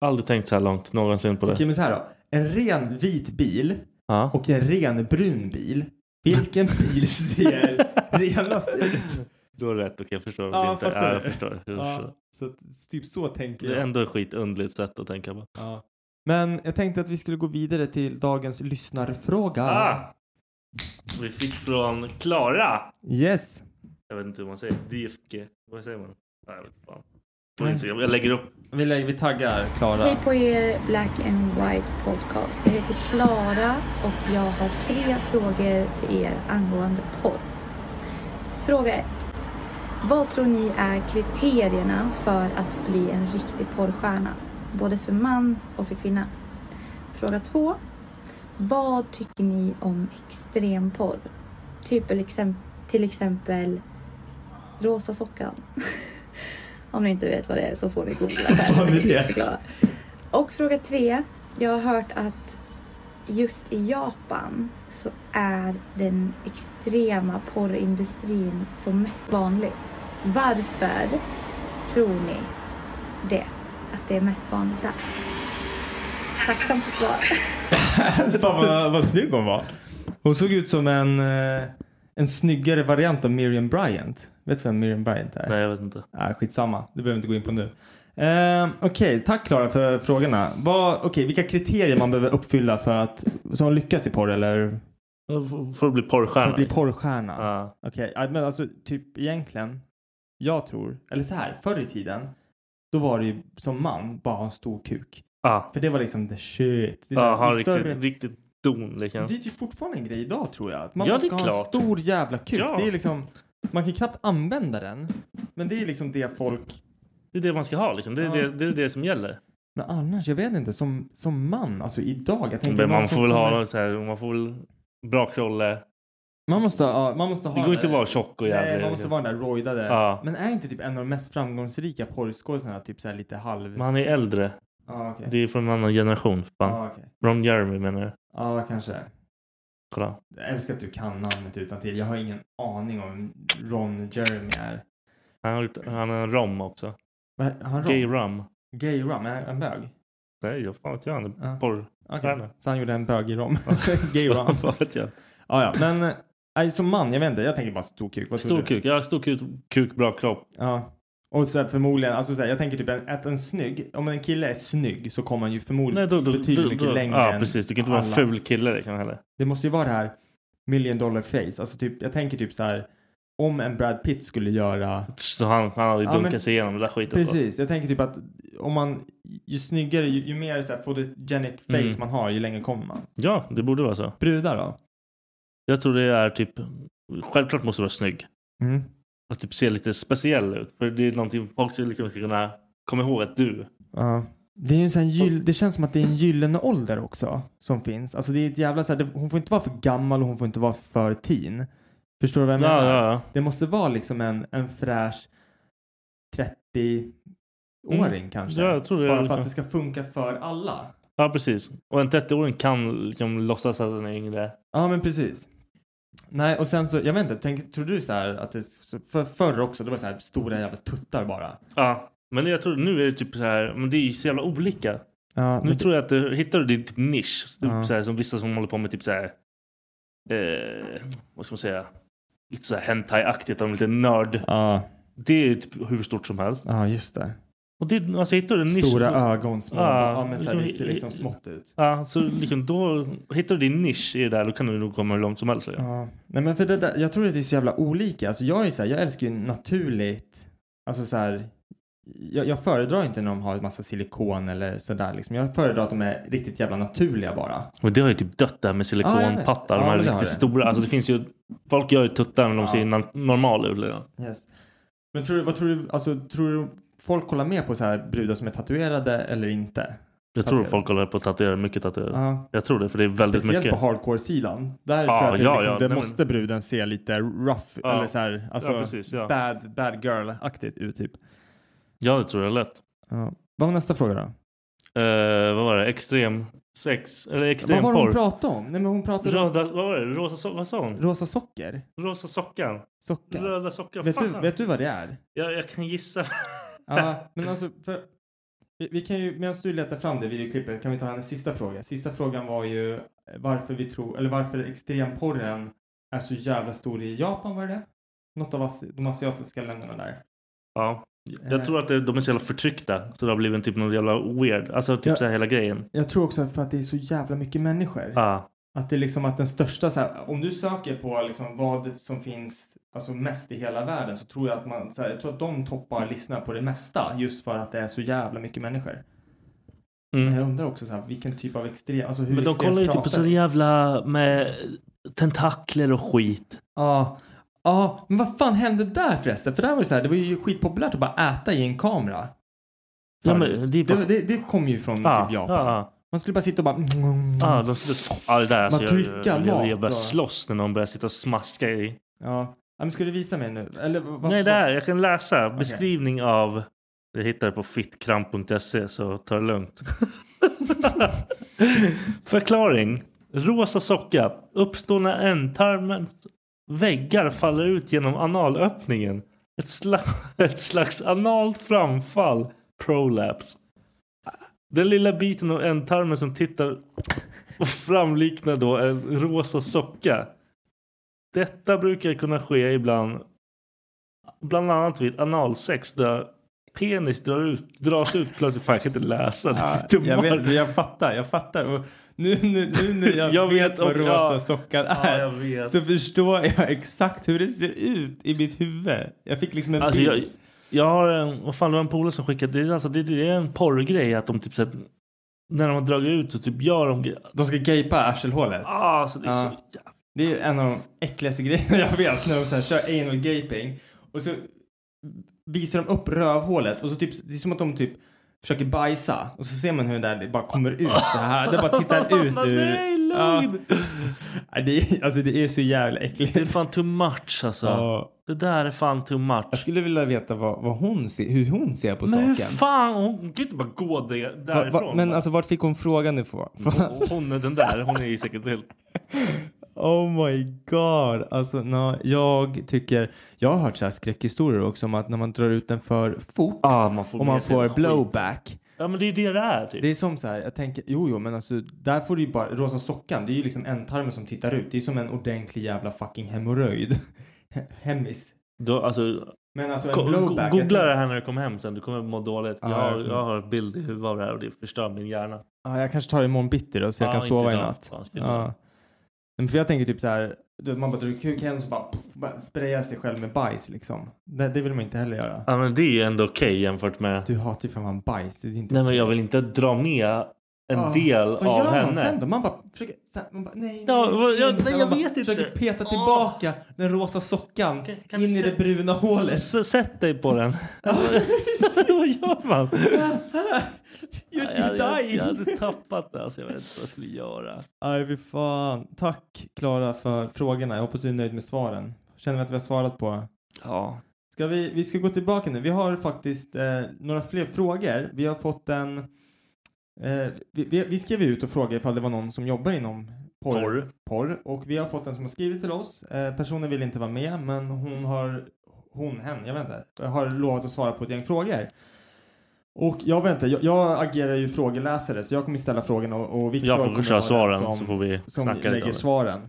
[SPEAKER 1] Aldrig tänkt så här långt någonsin på det.
[SPEAKER 2] Okej, men så här då. En ren vit bil
[SPEAKER 1] Ja.
[SPEAKER 2] och en ren brun bil. Vilken bil ser renast ut?
[SPEAKER 1] Du har rätt, okej jag förstår.
[SPEAKER 2] Ja,
[SPEAKER 1] Ja, inte.
[SPEAKER 2] fattar
[SPEAKER 1] Ja, jag
[SPEAKER 2] du?
[SPEAKER 1] förstår. Jag
[SPEAKER 2] Ja,
[SPEAKER 1] förstår.
[SPEAKER 2] så att, typ så tänker
[SPEAKER 1] Det är
[SPEAKER 2] jag.
[SPEAKER 1] ändå ett skitundligt sätt att tänka på.
[SPEAKER 2] Ja. Men jag tänkte att vi skulle gå vidare till dagens lyssnarfråga.
[SPEAKER 1] Ah! Vi fick från Klara.
[SPEAKER 2] Yes.
[SPEAKER 1] Jag vet inte hur man säger. DFG. Vad säger man? Nej, jag vet inte fan. På Instagram. Jag lägger upp.
[SPEAKER 2] Vi, lägger, vi taggar Klara.
[SPEAKER 5] Hej på er Black and White podcast. Jag heter Klara och jag har tre frågor till er angående porr. Fråga 1. Vad tror ni är kriterierna för att bli en riktig porrstjärna? Både för man och för kvinna. Fråga 2. Vad tycker ni om extremporr? Typ eller exem- till exempel rosa sockan. om ni inte vet vad det är så får ni googla själva.
[SPEAKER 2] fan är det?
[SPEAKER 5] Förklara. Och fråga tre. Jag har hört att just i Japan så är den extrema porrindustrin som mest vanlig. Varför tror ni det? Att det är mest vanligt där? Tacksam för svar.
[SPEAKER 2] Fan vad, vad snygg hon var. Hon såg ut som en, eh, en snyggare variant av Miriam Bryant. Vet du vem Miriam Bryant är?
[SPEAKER 1] Nej, jag vet inte.
[SPEAKER 2] Nej, skitsamma. Det behöver vi inte gå in på nu. Eh, Okej, tack Klara för frågorna. Vad, okej, vilka kriterier man behöver uppfylla för att så hon lyckas i porr eller
[SPEAKER 1] Jag får- Får bli
[SPEAKER 2] för
[SPEAKER 1] porrstjärna.
[SPEAKER 2] att bli porrstjärna?
[SPEAKER 1] Ja.
[SPEAKER 2] Okej, ja, men alltså typ egentligen. Jag tror, eller så här, förr i tiden. Då var det ju som man bara ha en stor kuk.
[SPEAKER 1] Ja.
[SPEAKER 2] För det var liksom the shit. Det är så
[SPEAKER 1] Ja,
[SPEAKER 2] här,
[SPEAKER 1] ha
[SPEAKER 2] ju större-
[SPEAKER 1] riktigt, riktigt don liksom.
[SPEAKER 2] Det är ju fortfarande en grej idag tror jag. Att man
[SPEAKER 1] Ja,
[SPEAKER 2] bara ska
[SPEAKER 1] det är
[SPEAKER 2] ha en
[SPEAKER 1] klart.
[SPEAKER 2] stor jävla kuk.
[SPEAKER 1] Ja.
[SPEAKER 2] Det är liksom, man kan knappt använda den. Men det är liksom det folk...
[SPEAKER 1] Det är det man ska ha liksom. Det är,
[SPEAKER 2] Ja.
[SPEAKER 1] det, det, är det som gäller.
[SPEAKER 2] Men annars, jag vet inte. Som, som man, alltså idag. Jag tänker
[SPEAKER 1] Men man
[SPEAKER 2] någon som
[SPEAKER 1] får väl ha
[SPEAKER 2] kommer-
[SPEAKER 1] någon så här, man får väl bra krolle.
[SPEAKER 2] Man måste, ha- ja, man måste ha...
[SPEAKER 1] Det går inte
[SPEAKER 2] den-
[SPEAKER 1] att vara tjock och jävlig.
[SPEAKER 2] Nej, man måste
[SPEAKER 1] liksom.
[SPEAKER 2] vara den där roidade.
[SPEAKER 1] Ja.
[SPEAKER 2] Men är inte typ en av de mest framgångsrika porrskådisarna typ så här lite halv...
[SPEAKER 1] Men han är äldre.
[SPEAKER 2] Ja, okej.
[SPEAKER 1] Det är från en annan generation. för Fan.
[SPEAKER 2] Ja, okej.
[SPEAKER 1] Ron Jeremy menar jag.
[SPEAKER 2] Ja, kanske.
[SPEAKER 1] Kolla.
[SPEAKER 2] Jag älskar att du kan namnet utan till. Jag har ingen aning om vem Ron Jeremy är.
[SPEAKER 1] Han har, gjort- han är en rom också.
[SPEAKER 2] Vad är han Ron?
[SPEAKER 1] Gay rom.
[SPEAKER 2] Gay Rum? Är han bög?
[SPEAKER 1] Nej, jag fan vet jag. Han är
[SPEAKER 2] Ja.
[SPEAKER 1] porr.
[SPEAKER 2] Okej,
[SPEAKER 1] Stjärna.
[SPEAKER 2] så han gjorde en bög i rom. Gay rom.
[SPEAKER 1] Vad vet jag.
[SPEAKER 2] ja, ja, men eh, nej, som man, jag vet inte. Jag tänker bara stor kuk. Vad tror
[SPEAKER 1] Stor
[SPEAKER 2] du?
[SPEAKER 1] kuk. Ja, stor kuk, kuk bra kropp.
[SPEAKER 2] Ja. Och så här, förmodligen, alltså så här, jag tänker typ en- att en snygg, om en kille är snygg så kommer han ju
[SPEAKER 1] Nej,
[SPEAKER 2] förmodligen
[SPEAKER 1] då, då,
[SPEAKER 2] betydligt
[SPEAKER 1] då,
[SPEAKER 2] mycket
[SPEAKER 1] då,
[SPEAKER 2] längre
[SPEAKER 1] Ja,
[SPEAKER 2] än
[SPEAKER 1] precis. Du kan inte vara en
[SPEAKER 2] alla.
[SPEAKER 1] ful kille liksom heller.
[SPEAKER 2] Det måste ju vara det här million dollar face. Alltså typ, jag tänker typ så här, om en Brad Pitt skulle göra
[SPEAKER 1] Så han, han har ju
[SPEAKER 2] Ja,
[SPEAKER 1] dunkat
[SPEAKER 2] men-
[SPEAKER 1] sig igenom den där skiten.
[SPEAKER 2] Precis, jag tänker typ att om man, ju snyggare, ju, ju mer så här photogenic face
[SPEAKER 1] Mm.
[SPEAKER 2] man har, ju längre kommer man.
[SPEAKER 1] Ja, det borde vara så.
[SPEAKER 2] Brudar då?
[SPEAKER 1] Jag tror det är typ... Självklart måste du vara snygg.
[SPEAKER 2] Mm.
[SPEAKER 1] Att typ se lite speciell ut. För det är någonting folk ska liksom ska kunna komma ihåg att du.
[SPEAKER 2] Ja. Det, är ju en sån här gyll, det känns som att det är en gyllene ålder också som finns. Alltså det är ett jävla så här, det, hon får inte vara för gammal och hon får inte vara för teen. Förstår du vad jag
[SPEAKER 1] Ja,
[SPEAKER 2] menar?
[SPEAKER 1] ja, ja.
[SPEAKER 2] Det måste vara liksom en, en fräsch 30 åring kanske.
[SPEAKER 4] Mm. Ja, jag tror det.
[SPEAKER 2] Bara
[SPEAKER 4] liksom-
[SPEAKER 2] för att det ska funka för alla.
[SPEAKER 4] Ja, precis. Och en 30-åring kan liksom låtsas att den är yngre.
[SPEAKER 2] Ja, men precis. Nej, och sen så, jag vet inte, tänk, tror du så här att det, för, förr också, det var så här stora jävla tuttar bara.
[SPEAKER 4] Ja, men jag tror nu är det typ så här, men det är ju så jävla olika.
[SPEAKER 2] Ja,
[SPEAKER 4] nu tror jag att du hittar du din typ nisch. Typ
[SPEAKER 2] Ja.
[SPEAKER 4] så här, som vissa som håller på med typ så här, eh, vad ska man säga, lite så här hentai-aktigt, de är lite nörd. Det är ju typ hur stort som helst.
[SPEAKER 2] Ja, just det.
[SPEAKER 4] Och det, alltså hittar du en nisch.
[SPEAKER 2] Stora ögon, små, ja, men så här, det ser liksom smått ut.
[SPEAKER 4] Ja, så liksom då hittar du din nisch i det där, då kan du nog komma hur långt som helst. Ja.
[SPEAKER 2] Ja. Nej, men för det där, jag tror att det är så jävla olika. Alltså, jag, är så här, jag älskar ju naturligt, alltså så här, jag, jag föredrar inte när de har en massa silikon eller sådär liksom. Jag föredrar att de är riktigt jävla naturliga bara.
[SPEAKER 4] Och det har ju typ dött där med
[SPEAKER 2] Ja, jag vet.
[SPEAKER 4] silikonpattar. de
[SPEAKER 2] Ja,
[SPEAKER 4] här
[SPEAKER 2] men det
[SPEAKER 4] riktigt
[SPEAKER 2] har det.
[SPEAKER 4] stora. Alltså det finns ju, folk gör ju tuttar men de
[SPEAKER 2] Ja.
[SPEAKER 4] ser ju na- normala ut. liksom. redan.
[SPEAKER 2] Yes. Men tror du, vad tror du, alltså tror du folk kollar mer på så här brudar som är tatuerade eller inte?
[SPEAKER 4] Jag tror
[SPEAKER 2] Tatuerade.
[SPEAKER 4] folk håller på att tatuera mycket tatuerare.
[SPEAKER 2] Ja.
[SPEAKER 4] Jag tror det, för det är väldigt
[SPEAKER 2] Speciellt
[SPEAKER 4] mycket.
[SPEAKER 2] på hardcore-sidan. Där
[SPEAKER 4] Ja,
[SPEAKER 2] tror jag att det,
[SPEAKER 4] ja,
[SPEAKER 2] liksom, det
[SPEAKER 4] ja. Nej, men-
[SPEAKER 2] måste bruden se lite rough
[SPEAKER 4] Ja.
[SPEAKER 2] eller så här, alltså
[SPEAKER 4] Ja, precis, ja.
[SPEAKER 2] bad, bad girl-aktigt ut typ.
[SPEAKER 4] Ja, det tror jag lätt.
[SPEAKER 2] Ja. Vad var nästa fråga då?
[SPEAKER 4] Eh, vad var det? Extrem sex? Eller extrem
[SPEAKER 2] vad var det hon
[SPEAKER 4] porr?
[SPEAKER 2] pratade om? Nej, men hon pratade om
[SPEAKER 4] Röda, vad var det? Rosa, so- vad sa hon?
[SPEAKER 2] rosa socker.
[SPEAKER 4] Rosa sockan?
[SPEAKER 2] Sockar.
[SPEAKER 4] Röda sockan?
[SPEAKER 2] Vet
[SPEAKER 4] Fan.
[SPEAKER 2] du, vet du vad det är?
[SPEAKER 4] Jag, jag kan gissa.
[SPEAKER 2] Ja, men alltså, för, vi, vi kan ju, medan du letar fram det videoklippet kan vi ta hennes sista fråga. Sista frågan var ju eh, varför vi tror, eller varför extremporren är så jävla stor i Japan var det det? Något av as- de asiatiska länderna där.
[SPEAKER 4] Ja.
[SPEAKER 2] Eh.
[SPEAKER 4] Jag tror att det- de är så jävla förtryckta. Så det har blivit en typ någon jävla weird. Alltså typ
[SPEAKER 2] Ja.
[SPEAKER 4] så här hela grejen.
[SPEAKER 2] Jag tror också för att det är så jävla mycket människor.
[SPEAKER 4] Ja.
[SPEAKER 2] Att det är liksom att den största så här, om du söker på liksom vad som finns alltså mest i hela världen så tror jag att man, så här, jag tror att de toppar listorna på det mesta just för att det är så jävla mycket människor.
[SPEAKER 4] Mm.
[SPEAKER 2] Men jag undrar också så här, vilken typ av extrem, alltså hur
[SPEAKER 4] Men de
[SPEAKER 2] extrem
[SPEAKER 4] kollar ju typ
[SPEAKER 2] pratar
[SPEAKER 4] på så
[SPEAKER 2] vi?
[SPEAKER 4] jävla med tentakler och skit.
[SPEAKER 2] Ja. Ja, men vad fan hände där förresten? För där var det så här, det var ju skitpopulärt att bara äta i en kamera.
[SPEAKER 4] Ja,
[SPEAKER 2] Förut.
[SPEAKER 4] men det
[SPEAKER 2] det,
[SPEAKER 4] är bara-
[SPEAKER 2] det, det kom ju från
[SPEAKER 4] Ja,
[SPEAKER 2] typ Japan.
[SPEAKER 4] ja.
[SPEAKER 2] Man skulle bara sitta och bara...
[SPEAKER 4] Ja, de sitter... Ja, det där
[SPEAKER 2] Man
[SPEAKER 4] alltså. Jag, jag,
[SPEAKER 2] trycker
[SPEAKER 4] jag,
[SPEAKER 2] mat
[SPEAKER 4] jag börjar
[SPEAKER 2] och-
[SPEAKER 4] slåss när någon börjar sitta och smaska i.
[SPEAKER 2] Ja. ja, men ska du visa mig nu? Eller, vad,
[SPEAKER 4] Nej,
[SPEAKER 2] vad-
[SPEAKER 4] där. Jag kan läsa. Beskrivning av... Det hittar jag på fittkramp.se, så ta det lugnt. Förklaring. Rosa socka uppstår när ändtarmens väggar faller ut genom analöppningen. Ett, sla ett slags analt framfall, prolaps. Den lilla biten av ändtarmen som tittar och framliknar då en rosa socka. Detta brukar kunna ske ibland Bland annat vid analsex där penis drar ut, dras ut plötsligt. Fan, jag kan inte läsa. Det är
[SPEAKER 2] Ja,
[SPEAKER 4] lite
[SPEAKER 2] jag,
[SPEAKER 4] mörkt.
[SPEAKER 2] vet, jag fattar, jag fattar. Och nu, nu, nu när jag,
[SPEAKER 4] Jag
[SPEAKER 2] vet,
[SPEAKER 4] vet
[SPEAKER 2] vad
[SPEAKER 4] om-
[SPEAKER 2] rosa
[SPEAKER 4] ja.
[SPEAKER 2] sockan
[SPEAKER 4] Ja,
[SPEAKER 2] är
[SPEAKER 4] jag vet.
[SPEAKER 2] så förstår jag exakt hur det ser ut i mitt huvud. Jag fick liksom en
[SPEAKER 4] Alltså,
[SPEAKER 2] bild.
[SPEAKER 4] jag, jag har en, vad fan, det var en polare som skickade, det är, alltså, det, det är en porrgrej att de typ så här, när de har dragit ut så typ gör de grejer.
[SPEAKER 2] De ska gapa arselhålet.
[SPEAKER 4] Ah, alltså, det är så jävla...
[SPEAKER 2] Det är ju en av de äckligaste grejerna jag vet när de så här kör anal gaping och så visar de upp rövhålet och så typ, det är som att de typ försöker bajsa och så ser man hur den där bara kommer ut så här. Det bara tittar ut ur.
[SPEAKER 4] Nej,
[SPEAKER 2] Ja.
[SPEAKER 4] lugn!
[SPEAKER 2] Nej, det är, alltså det är så jävla äckligt.
[SPEAKER 4] Det är fan too much alltså.
[SPEAKER 2] Ja.
[SPEAKER 4] Det där är fan too much.
[SPEAKER 2] Jag skulle vilja veta vad, vad hon ser, hur hon ser på
[SPEAKER 4] Men hur
[SPEAKER 2] saken.
[SPEAKER 4] fan, hon kan ju inte bara gå där,
[SPEAKER 2] Va-
[SPEAKER 4] därifrån.
[SPEAKER 2] va- men alltså vart fick hon frågan ifrån?
[SPEAKER 4] hon, hon är den där, hon är ju säkert helt...
[SPEAKER 2] Oh my god. Alltså, nå, jag tycker... Jag har hört så här skräckhistorier också om att när man drar ut den för fort
[SPEAKER 4] Ah, man får
[SPEAKER 2] och
[SPEAKER 4] med
[SPEAKER 2] man
[SPEAKER 4] sig
[SPEAKER 2] får
[SPEAKER 4] skit.
[SPEAKER 2] blowback.
[SPEAKER 4] Ja men det är ju det det är typ.
[SPEAKER 2] Det är som så här, jag tänker, jo jo men alltså där får du ju bara, rosa sockan, det är ju liksom ändtarmen som tittar ut. Det är som en ordentlig jävla fucking hemorrojd. He- Hemis.
[SPEAKER 4] Då, alltså,
[SPEAKER 2] Men alltså
[SPEAKER 4] Ko-
[SPEAKER 2] en blowback.
[SPEAKER 4] go-
[SPEAKER 2] jag
[SPEAKER 4] Googla
[SPEAKER 2] tänker-
[SPEAKER 4] det här när du kommer hem sen. Du kommer må dåligt.
[SPEAKER 2] Ja,
[SPEAKER 4] jag,
[SPEAKER 2] jag
[SPEAKER 4] har,
[SPEAKER 2] kommer-
[SPEAKER 4] jag har ett bild i huvudet av det här och det förstör min hjärna.
[SPEAKER 2] Ja, jag kanske tar det imorgon bitti då så jag
[SPEAKER 4] Ja,
[SPEAKER 2] kan
[SPEAKER 4] inte
[SPEAKER 2] sova i
[SPEAKER 4] idag.
[SPEAKER 2] natt.
[SPEAKER 4] Fan, shit.
[SPEAKER 2] Ja. Men för jag tänker typ så här, du, man bara drar ut kuken och så bara, puff, bara sprayar sig själv med bajs liksom. Det, det vill man inte heller göra.
[SPEAKER 4] Ja men det är ju ändå okej jämfört med...
[SPEAKER 2] Du hatar ju för fan bajs. Det är inte
[SPEAKER 4] Nej men
[SPEAKER 2] okej.
[SPEAKER 4] jag vill inte dra med en
[SPEAKER 2] Ah,
[SPEAKER 4] del av henne.
[SPEAKER 2] Vad gör man sen då? Man bara försöker, så här, man bara, nej,
[SPEAKER 4] Ja,
[SPEAKER 2] nej,
[SPEAKER 4] vad- jag-
[SPEAKER 2] nej.
[SPEAKER 4] nej,
[SPEAKER 2] Man
[SPEAKER 4] jag
[SPEAKER 2] bara
[SPEAKER 4] vet inte.
[SPEAKER 2] Försöker
[SPEAKER 4] Ah,
[SPEAKER 2] peta tillbaka den rosa sockan
[SPEAKER 4] Kan- kan
[SPEAKER 2] in
[SPEAKER 4] du
[SPEAKER 2] i det
[SPEAKER 4] se-
[SPEAKER 2] bruna hålet.
[SPEAKER 4] S- sätt dig på den. vad gör man?
[SPEAKER 2] You'd
[SPEAKER 4] jag,
[SPEAKER 2] be
[SPEAKER 4] hade- jag, jag
[SPEAKER 2] dying.
[SPEAKER 4] hade tappat det. Alltså, jag vet inte vad jag skulle göra.
[SPEAKER 2] Aj, fy fan. Tack Klara för frågorna. Jag hoppas du är nöjd med svaren. Känner vi att vi har svarat på
[SPEAKER 4] Ja.
[SPEAKER 2] Ska vi, vi ska gå tillbaka nu. Vi har faktiskt eh, några fler frågor. Vi har fått en... Eh, vi, vi, vi skrev ut och frågade ifall det var någon som jobbar inom porr.
[SPEAKER 1] Porr.
[SPEAKER 2] porr. Och vi har fått en som har skrivit till oss. Eh, personen vill inte vara med, men hon har... Hon, hen, jag vet inte. Har lovat att svara på ett gäng frågor. Och jag väntar, jag, jag agerar ju frågeläsare så jag kommer ställa frågorna och, och Viktor
[SPEAKER 1] Jag får
[SPEAKER 2] kommer
[SPEAKER 1] köra
[SPEAKER 2] vara
[SPEAKER 1] svaren,
[SPEAKER 2] den
[SPEAKER 1] så får vi
[SPEAKER 2] som
[SPEAKER 1] snacka lite om
[SPEAKER 2] lägger
[SPEAKER 1] det.
[SPEAKER 2] svaren.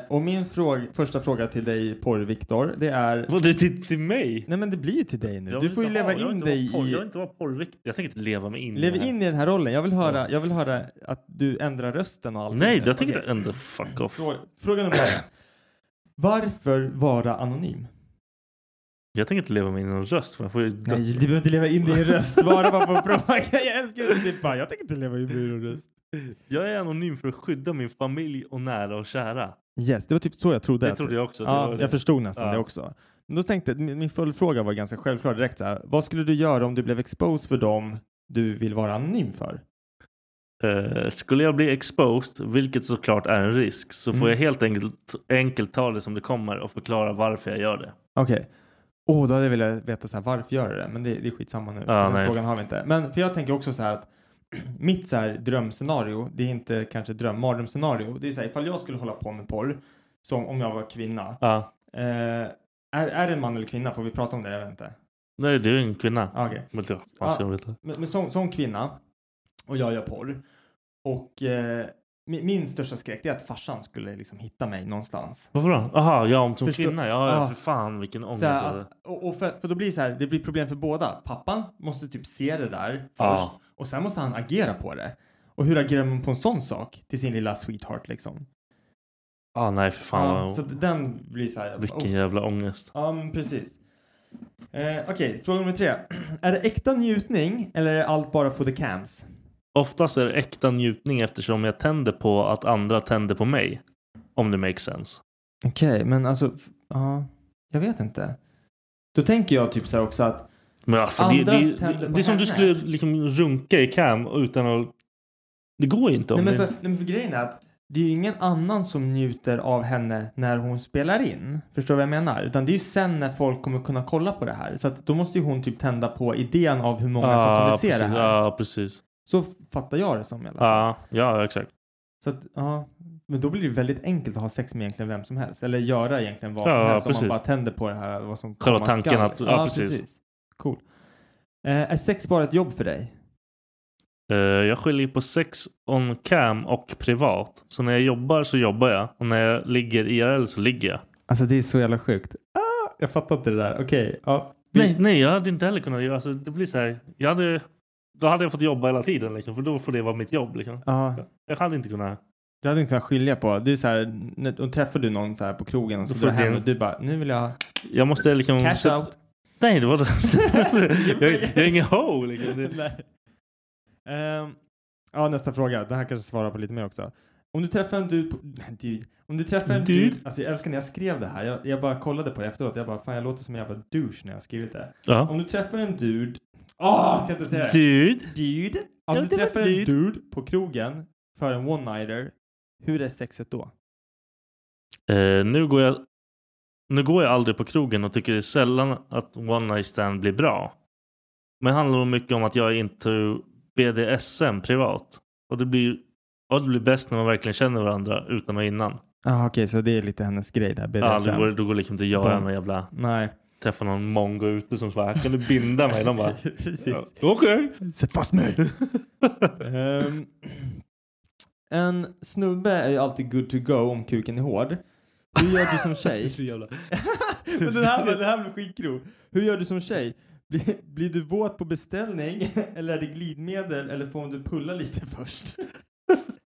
[SPEAKER 2] Eh, och min fråga, första fråga till dig porr-Viktor, det är...
[SPEAKER 1] Vad, det till, till mig?
[SPEAKER 2] Nej men det blir ju till dig nu.
[SPEAKER 1] Jag
[SPEAKER 2] Du
[SPEAKER 1] vill
[SPEAKER 2] får ju
[SPEAKER 1] inte ha-
[SPEAKER 2] leva
[SPEAKER 1] jag vill
[SPEAKER 2] in
[SPEAKER 1] inte vara
[SPEAKER 2] dig
[SPEAKER 1] porr- Jag
[SPEAKER 2] i...
[SPEAKER 1] vill inte vara porrviktig. Jag tänker inte leva mig in
[SPEAKER 2] Lev
[SPEAKER 1] det här.
[SPEAKER 2] in i den här rollen. Jag vill höra, jag vill höra att du ändrar rösten och allt.
[SPEAKER 1] Nej, jag tänker ändå fuck off.
[SPEAKER 2] Fråga, fråga nummer ett. Varför vara anonym?
[SPEAKER 1] Jag tänker inte leva mig in i någon röst. För jag får ju döds-
[SPEAKER 2] Nej, du behöver inte leva in din röst. Svara bara på frågan. Jag älskar att du bara, jag tänker inte leva in min röst.
[SPEAKER 1] Jag är anonym för att skydda min familj och nära och kära.
[SPEAKER 2] Yes, det var typ så jag trodde.
[SPEAKER 1] Det
[SPEAKER 2] att-
[SPEAKER 1] trodde jag också. Det
[SPEAKER 2] Ja,
[SPEAKER 1] var det.
[SPEAKER 2] jag förstod nästan
[SPEAKER 1] Ja.
[SPEAKER 2] det också. Men då tänkte jag, min min följdfråga var ganska självklar direkt. Så här, vad skulle du göra om du blev exposed för dem du vill vara anonym för?
[SPEAKER 1] Eh, skulle jag bli exposed, vilket såklart är en risk, så får
[SPEAKER 2] Mm.
[SPEAKER 1] jag helt enkelt, enkelt ta det som det kommer och förklara varför jag gör det.
[SPEAKER 2] Okej. Åh, då hade jag velat veta så här, varför gör du det? Men det, det är skitsamma nu.
[SPEAKER 1] Ja,
[SPEAKER 2] Den
[SPEAKER 1] nej.
[SPEAKER 2] frågan har vi inte. Men för jag tänker också så här att mitt så här drömscenario, det är inte kanske dröm, mardrömsscenario. Det är så här, ifall jag skulle hålla på med porr, som om jag var kvinna.
[SPEAKER 1] Ja.
[SPEAKER 2] Eh, är, är det en man eller kvinna? Får vi prata om det? Jag vet inte.
[SPEAKER 1] Nej, det är ju en kvinna.
[SPEAKER 2] Ah, okej.
[SPEAKER 1] Men det-
[SPEAKER 2] Ja,
[SPEAKER 1] fan ska jag veta?
[SPEAKER 2] Men, men som, som kvinna och jag gör porr och eh, min, min största skräck det är att farsan skulle liksom hitta mig någonstans.
[SPEAKER 1] Varför då? Aha, ja om som
[SPEAKER 2] Förstå-
[SPEAKER 1] kvinna. Ja, ja,
[SPEAKER 2] Ah.
[SPEAKER 1] för fan vilken ångest.
[SPEAKER 2] Så här
[SPEAKER 1] alltså.
[SPEAKER 2] att, och och för, för då blir det så här, det blir problem för båda. Pappan måste typ se det där först
[SPEAKER 1] Ja.
[SPEAKER 2] och sen måste han agera på det. Och hur agerar man på en sån sak till sin lilla sweetheart liksom?
[SPEAKER 1] ah, nej, för fan.
[SPEAKER 2] Ja,
[SPEAKER 1] vad-
[SPEAKER 2] så att den blir så här. jag bara,
[SPEAKER 1] vilken
[SPEAKER 2] "Uff."
[SPEAKER 1] jävla ångest.
[SPEAKER 2] Ja, men precis. Eh, Okej, fråga nummer tre. är det äkta njutning eller är det allt bara for the cams?
[SPEAKER 1] Oftast är det äkta njutning eftersom jag tänder på att andra tänder på mig. Om det makes sense.
[SPEAKER 2] Okej, men alltså, f- ja, jag vet inte. Då tänker jag typ så här också att
[SPEAKER 1] Men ja, för det,
[SPEAKER 2] Andra
[SPEAKER 1] det,
[SPEAKER 2] tänder
[SPEAKER 1] det,
[SPEAKER 2] på
[SPEAKER 1] det är som du
[SPEAKER 2] henne.
[SPEAKER 1] skulle liksom runka i cam utan att... Det går ju inte. Om
[SPEAKER 2] nej men,
[SPEAKER 1] det-
[SPEAKER 2] för, nej men för grejen är att det är ju ingen annan som njuter av henne när hon spelar in. Förstår du vad jag menar? Utan det är ju sen när folk kommer kunna kolla på det här. Så att då måste ju hon typ tända på idén av hur många som kommer se
[SPEAKER 1] precis,
[SPEAKER 2] det här.
[SPEAKER 1] Ja, precis.
[SPEAKER 2] Så fattar jag det som i alla fall.
[SPEAKER 1] Ja, ja, exakt.
[SPEAKER 2] Så att, ja. Men då blir det ju väldigt enkelt att ha sex med egentligen vem som helst. Eller göra egentligen vad som
[SPEAKER 1] Ja,
[SPEAKER 2] helst om
[SPEAKER 1] precis.
[SPEAKER 2] man bara tänder på det här. Vad som
[SPEAKER 1] Själva
[SPEAKER 2] komma
[SPEAKER 1] tanken
[SPEAKER 2] skall.
[SPEAKER 1] att- ja, precis.
[SPEAKER 2] Cool. Eh, är sex bara ett jobb för dig?
[SPEAKER 1] Eh, jag skiljer på sex on cam och privat. Så när jag jobbar så jobbar jag. Och när jag ligger IRL så ligger jag.
[SPEAKER 2] Alltså det är så jävla sjukt. Ah, jag fattar inte det där. Okej. ja. Vi-
[SPEAKER 1] Nej, nej, jag hade inte heller kunnat göra. Alltså, det blir så här. Jag hade, då hade jag fått jobba hela tiden. Liksom, för då får det vara mitt jobb. Liksom.
[SPEAKER 2] Ja.
[SPEAKER 1] Jag hade inte kunnat.
[SPEAKER 2] Du hade inte kunnat skilja på. Du är så här, när- då träffar du någon så här på krogen och så
[SPEAKER 1] Då
[SPEAKER 2] går du
[SPEAKER 1] får det
[SPEAKER 2] hem
[SPEAKER 1] en-
[SPEAKER 2] och du bara, nu vill jag
[SPEAKER 1] Jag måste liksom...
[SPEAKER 2] cash out.
[SPEAKER 1] Nej, det var jag, jag är ingen ho. Liksom. Det,
[SPEAKER 2] Nej. Ehm, ja, nästa fråga. Den här kanske svarar på lite mer också. Om du träffar en dude, på, dude. Om du träffar en
[SPEAKER 1] Dude.
[SPEAKER 2] dude. Alltså jag älskar när jag skrev det här. Jag, jag bara kollade på det efteråt. Jag bara, fan jag låter som en jävla douche när jag har skrivit det.
[SPEAKER 1] Ja.
[SPEAKER 2] Om du träffar en dude. Åh, kan inte säga det.
[SPEAKER 1] Dude.
[SPEAKER 2] Dude. Om
[SPEAKER 1] Ja,
[SPEAKER 2] du
[SPEAKER 1] det var
[SPEAKER 2] träffar en
[SPEAKER 1] dude.
[SPEAKER 2] dude på krogen för en one-nighter. Hur är sexet då?
[SPEAKER 1] Eh, nu, går jag, nu går jag aldrig på krogen och tycker det är sällan att one night stand blir bra. Men det handlar nog mycket om att jag är into BDSM privat. Och det blir, och det blir bäst när man verkligen känner varandra utan och innan.
[SPEAKER 2] Ah, Okej, så det är lite hennes grej där.
[SPEAKER 1] Ja, det går, då går liksom inte
[SPEAKER 2] Bara-
[SPEAKER 1] Göran och jävla
[SPEAKER 2] Nej.
[SPEAKER 1] träffa någon mongo ute som bara kan du binda mig? De bara
[SPEAKER 2] Precis.
[SPEAKER 1] okej.
[SPEAKER 2] Sätt fast mig! Ehm, en snubbe är ju alltid good to go om kuken är hård. Hur gör du som tjej? Men den här, den här blev skitgrov. Hur gör du som tjej? Blir, blir du våt på beställning eller är det glidmedel eller får du pulla lite först?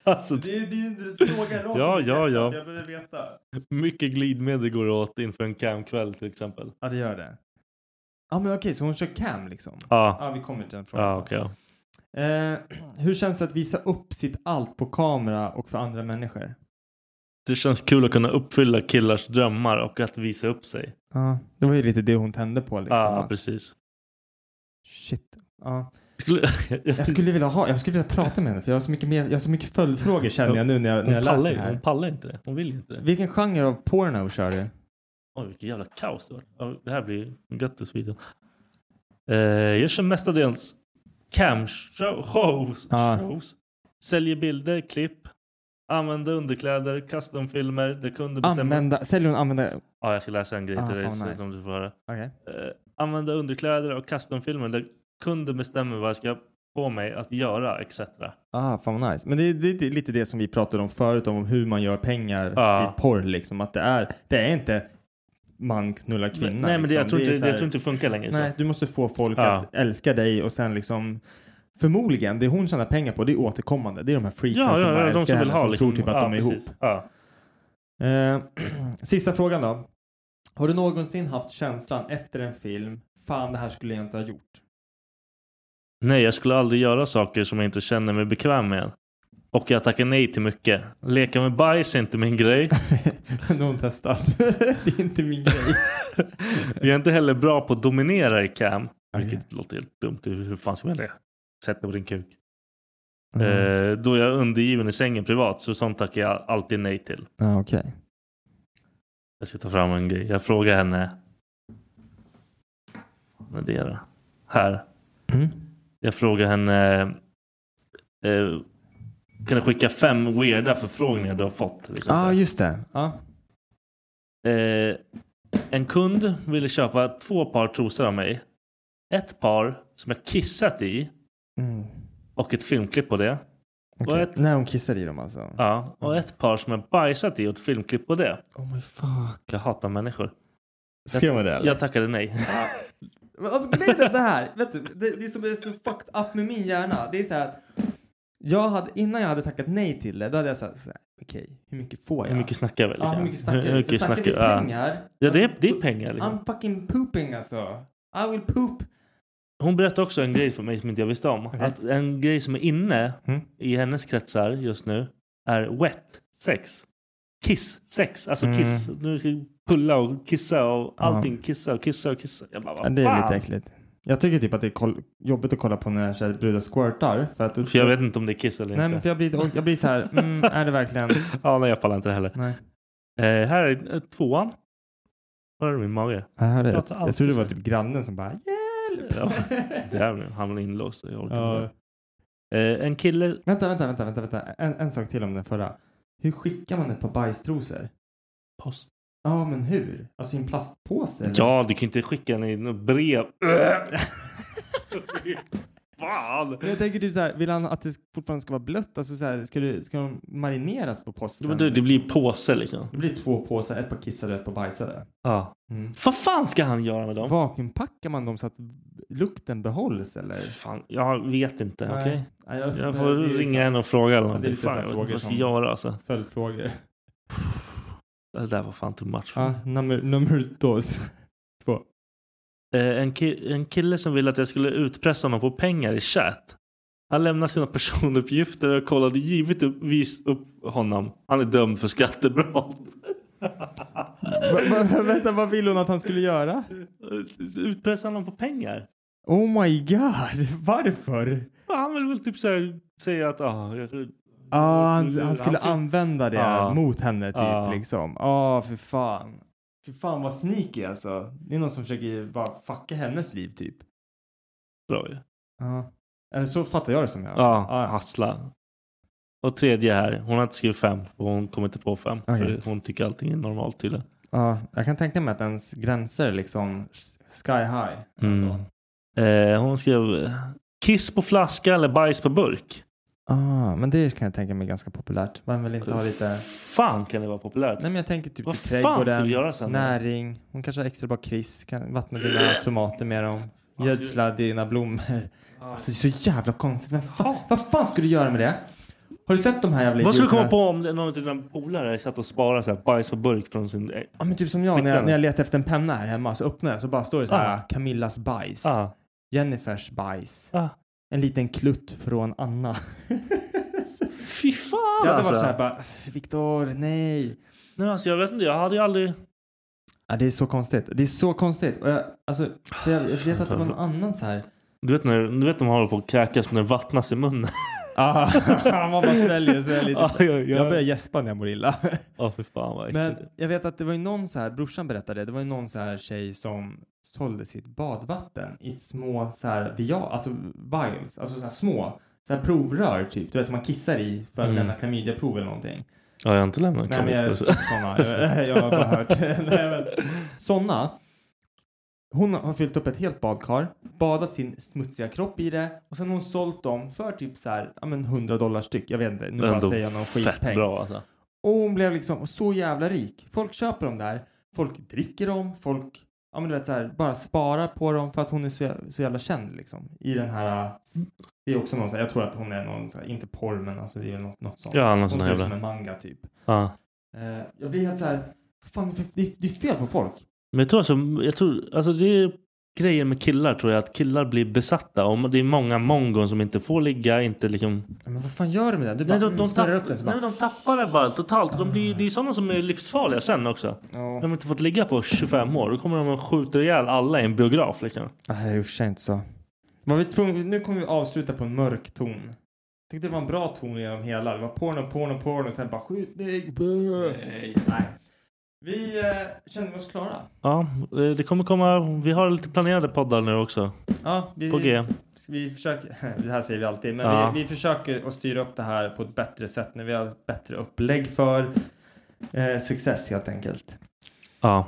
[SPEAKER 1] Alltså,
[SPEAKER 2] Det är det är ju en fråga rakt
[SPEAKER 1] Ja,
[SPEAKER 2] i
[SPEAKER 1] ja,
[SPEAKER 2] hjärtat.
[SPEAKER 1] ja.
[SPEAKER 2] Jag behöver veta.
[SPEAKER 1] mycket glidmedel går åt inför en camkväll till exempel.
[SPEAKER 2] Ja, det gör det. Ja, men okej, så hon kör cam liksom?
[SPEAKER 1] Ja,
[SPEAKER 2] Ja, vi kommer till den frågan
[SPEAKER 1] ja
[SPEAKER 2] sen.
[SPEAKER 1] okej. ja.
[SPEAKER 2] Eh, hur känns det att visa upp sitt allt på kamera och för andra människor?
[SPEAKER 1] Det känns kul att kunna uppfylla killars drömmar och att visa upp sig.
[SPEAKER 2] Ja, det var ju lite det hon tände på liksom.
[SPEAKER 1] Ja,
[SPEAKER 2] Att-
[SPEAKER 1] precis.
[SPEAKER 2] Shit. Ja.
[SPEAKER 1] Skulle...
[SPEAKER 2] Jag skulle vilja ha, jag skulle vilja prata med henne för jag har så mycket mer, jag har så mycket följdfrågor känner jag nu när jag, när
[SPEAKER 1] Hon
[SPEAKER 2] jag läser
[SPEAKER 1] pallar,
[SPEAKER 2] det
[SPEAKER 1] inte- hon
[SPEAKER 2] här.
[SPEAKER 1] pallar inte det. Hon vill inte det.
[SPEAKER 2] Vilken genre av porno kör du?
[SPEAKER 4] Oj, vilket jävla kaos det var. Ja, Det här blir gött i eh, Jag kör mestadels cam-shows.
[SPEAKER 2] Ja.
[SPEAKER 4] Shows. Säljer bilder, klipp, använda underkläder, custom-filmer där kunden bestämmer.
[SPEAKER 2] Använda, säljer hon använda?
[SPEAKER 4] Ja, jag ska läsa en grej
[SPEAKER 2] Ah,
[SPEAKER 4] till dig
[SPEAKER 2] fan,
[SPEAKER 4] så
[SPEAKER 2] nice.
[SPEAKER 4] de ska få höra.
[SPEAKER 2] Okej.
[SPEAKER 4] Eh, använda underkläder och custom-filmer där kunden bestämmer vad jag ska på mig att göra etc.
[SPEAKER 2] Ah, fan vad nice. Men det, det, det är lite det som vi pratade om förut om hur man gör pengar
[SPEAKER 4] Ja.
[SPEAKER 2] i porr liksom. Att det är, det är inte man knullar kvinna.
[SPEAKER 4] Nej, men det,
[SPEAKER 2] liksom.
[SPEAKER 4] jag, tror inte,
[SPEAKER 2] är så
[SPEAKER 4] det,
[SPEAKER 2] här-
[SPEAKER 4] jag tror inte det funkar längre.
[SPEAKER 2] Nej,
[SPEAKER 4] så.
[SPEAKER 2] du måste få folk
[SPEAKER 4] Ja.
[SPEAKER 2] att älska dig och sen liksom Förmodligen, det hon tjänar pengar på det är återkommande. Det är de här freaksen
[SPEAKER 4] Ja,
[SPEAKER 2] som
[SPEAKER 4] ja,
[SPEAKER 2] bara
[SPEAKER 4] ja,
[SPEAKER 2] älskar
[SPEAKER 4] de som vill
[SPEAKER 2] henne
[SPEAKER 4] ha
[SPEAKER 2] som
[SPEAKER 4] liksom.
[SPEAKER 2] tror typ att
[SPEAKER 4] ja,
[SPEAKER 2] de är ihop.
[SPEAKER 4] precis. Ja.
[SPEAKER 2] Eh, sista frågan då. Har du någonsin haft känslan efter en film, fan det här skulle jag inte ha gjort?
[SPEAKER 4] Nej, jag skulle aldrig göra saker som jag inte känner mig bekväm med. Och jag tackar nej till mycket. Leka med bajs är inte min grej.
[SPEAKER 2] Nu har hon testat. det är inte min grej.
[SPEAKER 4] Jag är inte heller bra på att dominera i cam. Vilket låter helt dumt. Hur hur fan ska man göra det? Sätta på din kuk.
[SPEAKER 2] Mm.
[SPEAKER 4] Eh, då är jag undergiven i sängen privat. Så sånt tackar jag alltid nej till.
[SPEAKER 2] Ja, okej.
[SPEAKER 4] Jag ska ta fram en grej. Jag frågar henne. Vad är det då? Här.
[SPEAKER 2] Mm.
[SPEAKER 4] Jag frågar henne. Eh, kan du skicka fem weirda förfrågningar du har fått? Liksom, så
[SPEAKER 2] Ja,
[SPEAKER 4] här.
[SPEAKER 2] just det. Ja.
[SPEAKER 4] Eh, en kund ville köpa två par trosor av mig. Ett par som jag kissat i
[SPEAKER 2] Mm.
[SPEAKER 4] och ett filmklipp på det.
[SPEAKER 2] Okej.
[SPEAKER 4] Och, ett,
[SPEAKER 2] När hon kissar i dem alltså.
[SPEAKER 4] ja, och ett par som jag bajsat i och ett filmklipp på det.
[SPEAKER 2] Oh my fuck.
[SPEAKER 4] Jag hatar människor.
[SPEAKER 2] Skrev man det, eller?
[SPEAKER 4] Jag tackade nej.
[SPEAKER 2] Men alltså grejen är så här. Vet du, det, det som är så fucked up med min hjärna. Det är så här. att Jag hade, innan jag hade tackat nej till det, då hade jag sagt så här. Okej, hur mycket får jag?
[SPEAKER 4] Hur mycket snackar vi?
[SPEAKER 2] Ja, hur mycket snackar vi?
[SPEAKER 4] hur mycket
[SPEAKER 2] För snackar
[SPEAKER 4] snackar-
[SPEAKER 2] vi
[SPEAKER 4] ja.
[SPEAKER 2] pengar? Alltså,
[SPEAKER 4] Ja, det är, det är pengar. Liksom.
[SPEAKER 2] I'm fucking pooping alltså. I will poop.
[SPEAKER 4] Hon berättade också en grej för mig som inte jag visste om. Att en grej som är inne i hennes kretsar just nu är wet sex. Kiss sex. Alltså
[SPEAKER 2] Mm.
[SPEAKER 4] kiss. Nu ska vi pulla och kissa och
[SPEAKER 2] Ja.
[SPEAKER 4] allting. Kissa och kissa och kissa. Jag bara,
[SPEAKER 2] Ja,
[SPEAKER 4] vad
[SPEAKER 2] det är
[SPEAKER 4] fan?
[SPEAKER 2] lite äckligt. Jag tycker typ att det är koll- jobbigt att kolla på när så här brudar squirtar. För, att,
[SPEAKER 4] För jag vet inte om det är kiss eller
[SPEAKER 2] Nej, men
[SPEAKER 4] inte.
[SPEAKER 2] för jag blir, jag blir så här, mm, är det verkligen?
[SPEAKER 4] Ja, nej, jag pallar inte det heller.
[SPEAKER 2] Nej.
[SPEAKER 4] Eh, här är eh, tvåan. Var är min mage?
[SPEAKER 2] Jag, hörde,
[SPEAKER 4] Pratar
[SPEAKER 2] jag,
[SPEAKER 4] alltid
[SPEAKER 2] jag tror det var
[SPEAKER 4] så.
[SPEAKER 2] typ grannen som bara
[SPEAKER 4] Ja,
[SPEAKER 2] hjälp.
[SPEAKER 4] det här nu. Han var inlåst. Jag orkar
[SPEAKER 2] Ja.
[SPEAKER 4] inte. Eh, en kille.
[SPEAKER 2] Vänta, vänta, vänta, vänta, vänta. En, en sak till om den förra. Hur skickar man ett par bajstrosor?
[SPEAKER 4] Post.
[SPEAKER 2] Ja, men hur? Alltså i en plastpåse? eller?
[SPEAKER 4] Ja, du kan inte skicka en i något brev. Fan!
[SPEAKER 2] Men Jag tänker typ så här, vill han att det fortfarande ska vara blött? Alltså så här, ska, du, ska de marineras på posten?
[SPEAKER 4] Det, det blir påse liksom.
[SPEAKER 2] det blir två påsar, ett par kissade och ett par bajsade.
[SPEAKER 4] Ja.
[SPEAKER 2] Mm.
[SPEAKER 4] Vad fan ska han göra med dem?
[SPEAKER 2] Vakuumpackar man dem så att lukten behålls eller?
[SPEAKER 4] Fan, jag vet inte.
[SPEAKER 2] Nej.
[SPEAKER 4] Okej?
[SPEAKER 2] Nej,
[SPEAKER 4] Jag
[SPEAKER 2] det
[SPEAKER 4] får
[SPEAKER 2] är så-
[SPEAKER 4] ringa henne och fråga
[SPEAKER 2] Ja, det är
[SPEAKER 4] eller någonting.
[SPEAKER 2] lite så
[SPEAKER 4] Fan,
[SPEAKER 2] här
[SPEAKER 4] jag vet
[SPEAKER 2] frågor
[SPEAKER 4] inte vad jag ska
[SPEAKER 2] som-
[SPEAKER 4] göra alltså.
[SPEAKER 2] Följdfrågor.
[SPEAKER 4] Det där var fan too much. för
[SPEAKER 2] Ja,
[SPEAKER 4] mig.
[SPEAKER 2] nummer, nummer dos. Två.
[SPEAKER 4] Eh, en, ki- en kille som ville att jag skulle utpressa honom på pengar i chatt. Han lämnade sina personuppgifter och jag kollade givetvis upp honom. Han är dömd för skattebrott.
[SPEAKER 2] va, va, vänta, vad vill hon att han skulle göra?
[SPEAKER 4] Utpressa honom på pengar.
[SPEAKER 2] Oh my god, varför?
[SPEAKER 4] Ja, Han vill väl typ så här, säga att ah, jag,
[SPEAKER 2] Ah, han, han skulle
[SPEAKER 4] Han fick-
[SPEAKER 2] använda det
[SPEAKER 4] Ja.
[SPEAKER 2] mot henne typ
[SPEAKER 4] Ja.
[SPEAKER 2] liksom. Ja, för fan. För fan vad sneaky alltså. Det är någon som försöker bara fucka hennes liv typ.
[SPEAKER 4] bra ju.
[SPEAKER 2] Ja. Eller så fattar jag det som jag.
[SPEAKER 4] Ja,
[SPEAKER 2] Ja.
[SPEAKER 4] hassla. Och tredje här. Hon har inte skrivit fem och hon kommer inte på fem.
[SPEAKER 2] Okej.
[SPEAKER 4] För hon tycker allting är normalt tydligen.
[SPEAKER 2] Ja, jag kan tänka mig att ens gränser är liksom sky high.
[SPEAKER 4] Mm. Eh, hon skrev eh, kiss på flaska eller bajs på burk.
[SPEAKER 2] Ah, men det kan jag tänka mig är ganska populärt. Vem vill inte ha lite...
[SPEAKER 4] fan kan det vara populärt?
[SPEAKER 2] Nej men jag tänker typ
[SPEAKER 4] Vad
[SPEAKER 2] till
[SPEAKER 4] fan ska
[SPEAKER 2] trädgården,
[SPEAKER 4] vi göra sen?
[SPEAKER 2] näring. Hon kanske har extra bra kris, kan vattna dina tomater med dem.
[SPEAKER 4] Alltså,
[SPEAKER 2] Gödsla dina blommor.
[SPEAKER 4] Ja.
[SPEAKER 2] Alltså det är så jävla konstigt. Men fan, vad fan ska du göra med det? Har du sett de här jävla
[SPEAKER 4] Vad skulle du komma
[SPEAKER 2] idioterna?
[SPEAKER 4] på om det- någon av dina polare satt och sparade så här bajs på burk från sin... eh,
[SPEAKER 2] Ja men typ som jag när, jag,
[SPEAKER 4] Flickvänner?
[SPEAKER 2] när jag letar efter en penna här hemma så öppnar jag så bara står det så här
[SPEAKER 4] Ah.
[SPEAKER 2] Camillas bajs.
[SPEAKER 4] Ah,
[SPEAKER 2] Jennifers bajs.
[SPEAKER 4] ah.
[SPEAKER 2] En liten klutt från Anna.
[SPEAKER 4] Fy fan
[SPEAKER 2] Jag hade
[SPEAKER 4] alltså.
[SPEAKER 2] varit såhär bara, Viktor, nej.
[SPEAKER 4] Nej, alltså. Jag vet inte, jag hade ju aldrig...
[SPEAKER 2] Ja, det är så konstigt. Det är så konstigt. Och jag, alltså, för jag, jag vet att det var någon annan så här.
[SPEAKER 4] Du vet när du vet när man håller på att kräkas men den vattnas i munnen.
[SPEAKER 2] Ah, Man bara sväljer, sväljer lite.
[SPEAKER 1] Ja, ja, ja.
[SPEAKER 2] Jag börjar gäspa när jag mår illa.
[SPEAKER 1] Ja, för fan vad
[SPEAKER 2] Men
[SPEAKER 1] äckligt.
[SPEAKER 2] jag vet att det var ju någon så här, brorsan berättade, det var ju någon så här tjej som sålde sitt badvatten i små så här via, alltså vials, alltså så här små, så här provrör typ, du vet som man kissar i för att
[SPEAKER 1] Mm.
[SPEAKER 2] lämna klamydiaprov eller någonting.
[SPEAKER 1] Ja, jag har inte lämnat
[SPEAKER 2] Nej, men jag,
[SPEAKER 1] klamydia.
[SPEAKER 2] såna, jag, jag har bara hört. Nej, men, såna. Hon har fyllt upp ett helt badkar, badat sin smutsiga kropp i det och sen har hon sålt dem för typ så här, ja men 100 dollar styck. Jag vet inte, nu bara
[SPEAKER 1] Ändå
[SPEAKER 2] säger jag någon
[SPEAKER 1] fett
[SPEAKER 2] skitpeng.
[SPEAKER 1] bra alltså.
[SPEAKER 2] Och hon blev liksom så jävla rik. Folk köper dem där, folk dricker dem, folk ja men du vet så här, bara sparar på dem för att hon är så, jä- så jävla känd liksom. I den här, äh, det är också någon så här, jag tror att hon är någon så här, inte porr men alltså det är något, något sånt.
[SPEAKER 1] Ja, någon
[SPEAKER 2] hon
[SPEAKER 1] sån
[SPEAKER 2] ser ut
[SPEAKER 1] jävla-
[SPEAKER 2] som en manga typ.
[SPEAKER 1] Ja.
[SPEAKER 2] Eh, jag blir helt så här, fan det- det, det är fel på folk.
[SPEAKER 1] Men jag tror alltså, jag tror, alltså det är grejen med killar tror jag, att killar blir besatta. Och det är många mongon som inte får ligga, inte liksom...
[SPEAKER 2] Men vad fan gör du med den? Du bara
[SPEAKER 1] Nej,
[SPEAKER 2] de,
[SPEAKER 1] de, de,
[SPEAKER 2] snurrar
[SPEAKER 1] tapp,
[SPEAKER 2] upp den så
[SPEAKER 1] nej,
[SPEAKER 2] bara,
[SPEAKER 1] men de tappar det bara totalt. De blir, det är sådana som är livsfarliga sen också.
[SPEAKER 2] Ja.
[SPEAKER 1] De har inte fått ligga på 25 år. Då kommer de och skjuter ihjäl alla i en biograf. Liksom.
[SPEAKER 2] nej usch jag är inte så. Var vi tvungna, nu kommer vi avsluta på en mörk ton. Jag tyckte det var en bra ton genom hela. Det var porno, porno, porno och sen bara skjutning. Nej. nej. Vi eh, känner oss klara.
[SPEAKER 1] Ja, eh, det kommer komma... Vi har lite planerade poddar nu också.
[SPEAKER 2] Ja, vi,
[SPEAKER 1] På G.
[SPEAKER 2] vi försöker, det här säger vi alltid, men
[SPEAKER 1] Ja.
[SPEAKER 2] vi, vi försöker att styra upp det här på ett bättre sätt när vi har ett bättre upplägg för eh, success helt enkelt.
[SPEAKER 1] Ja.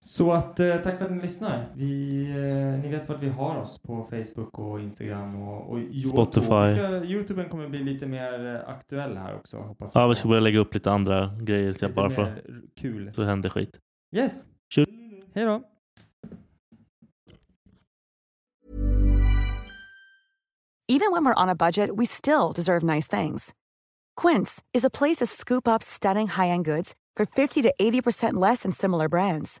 [SPEAKER 2] Så att eh, tack för att ni lyssnar. Vi, eh, ni vet vart vi har oss på Facebook och Instagram och, och YouTube.
[SPEAKER 1] Spotify.
[SPEAKER 2] Vi Ska, Youtuben kommer bli lite mer eh, aktuell här också hoppas
[SPEAKER 1] ja, vi ska börja lägga upp lite andra grejer. Lite
[SPEAKER 2] Lite
[SPEAKER 1] bara för
[SPEAKER 2] mer kul.
[SPEAKER 1] så händer skit.
[SPEAKER 2] Yes.
[SPEAKER 1] Tjur.
[SPEAKER 2] Hej då.
[SPEAKER 6] Even when we're on a budget, we still deserve nice things. Quince is a place to scoop up stunning high-end goods for 50 to 80% less than similar brands.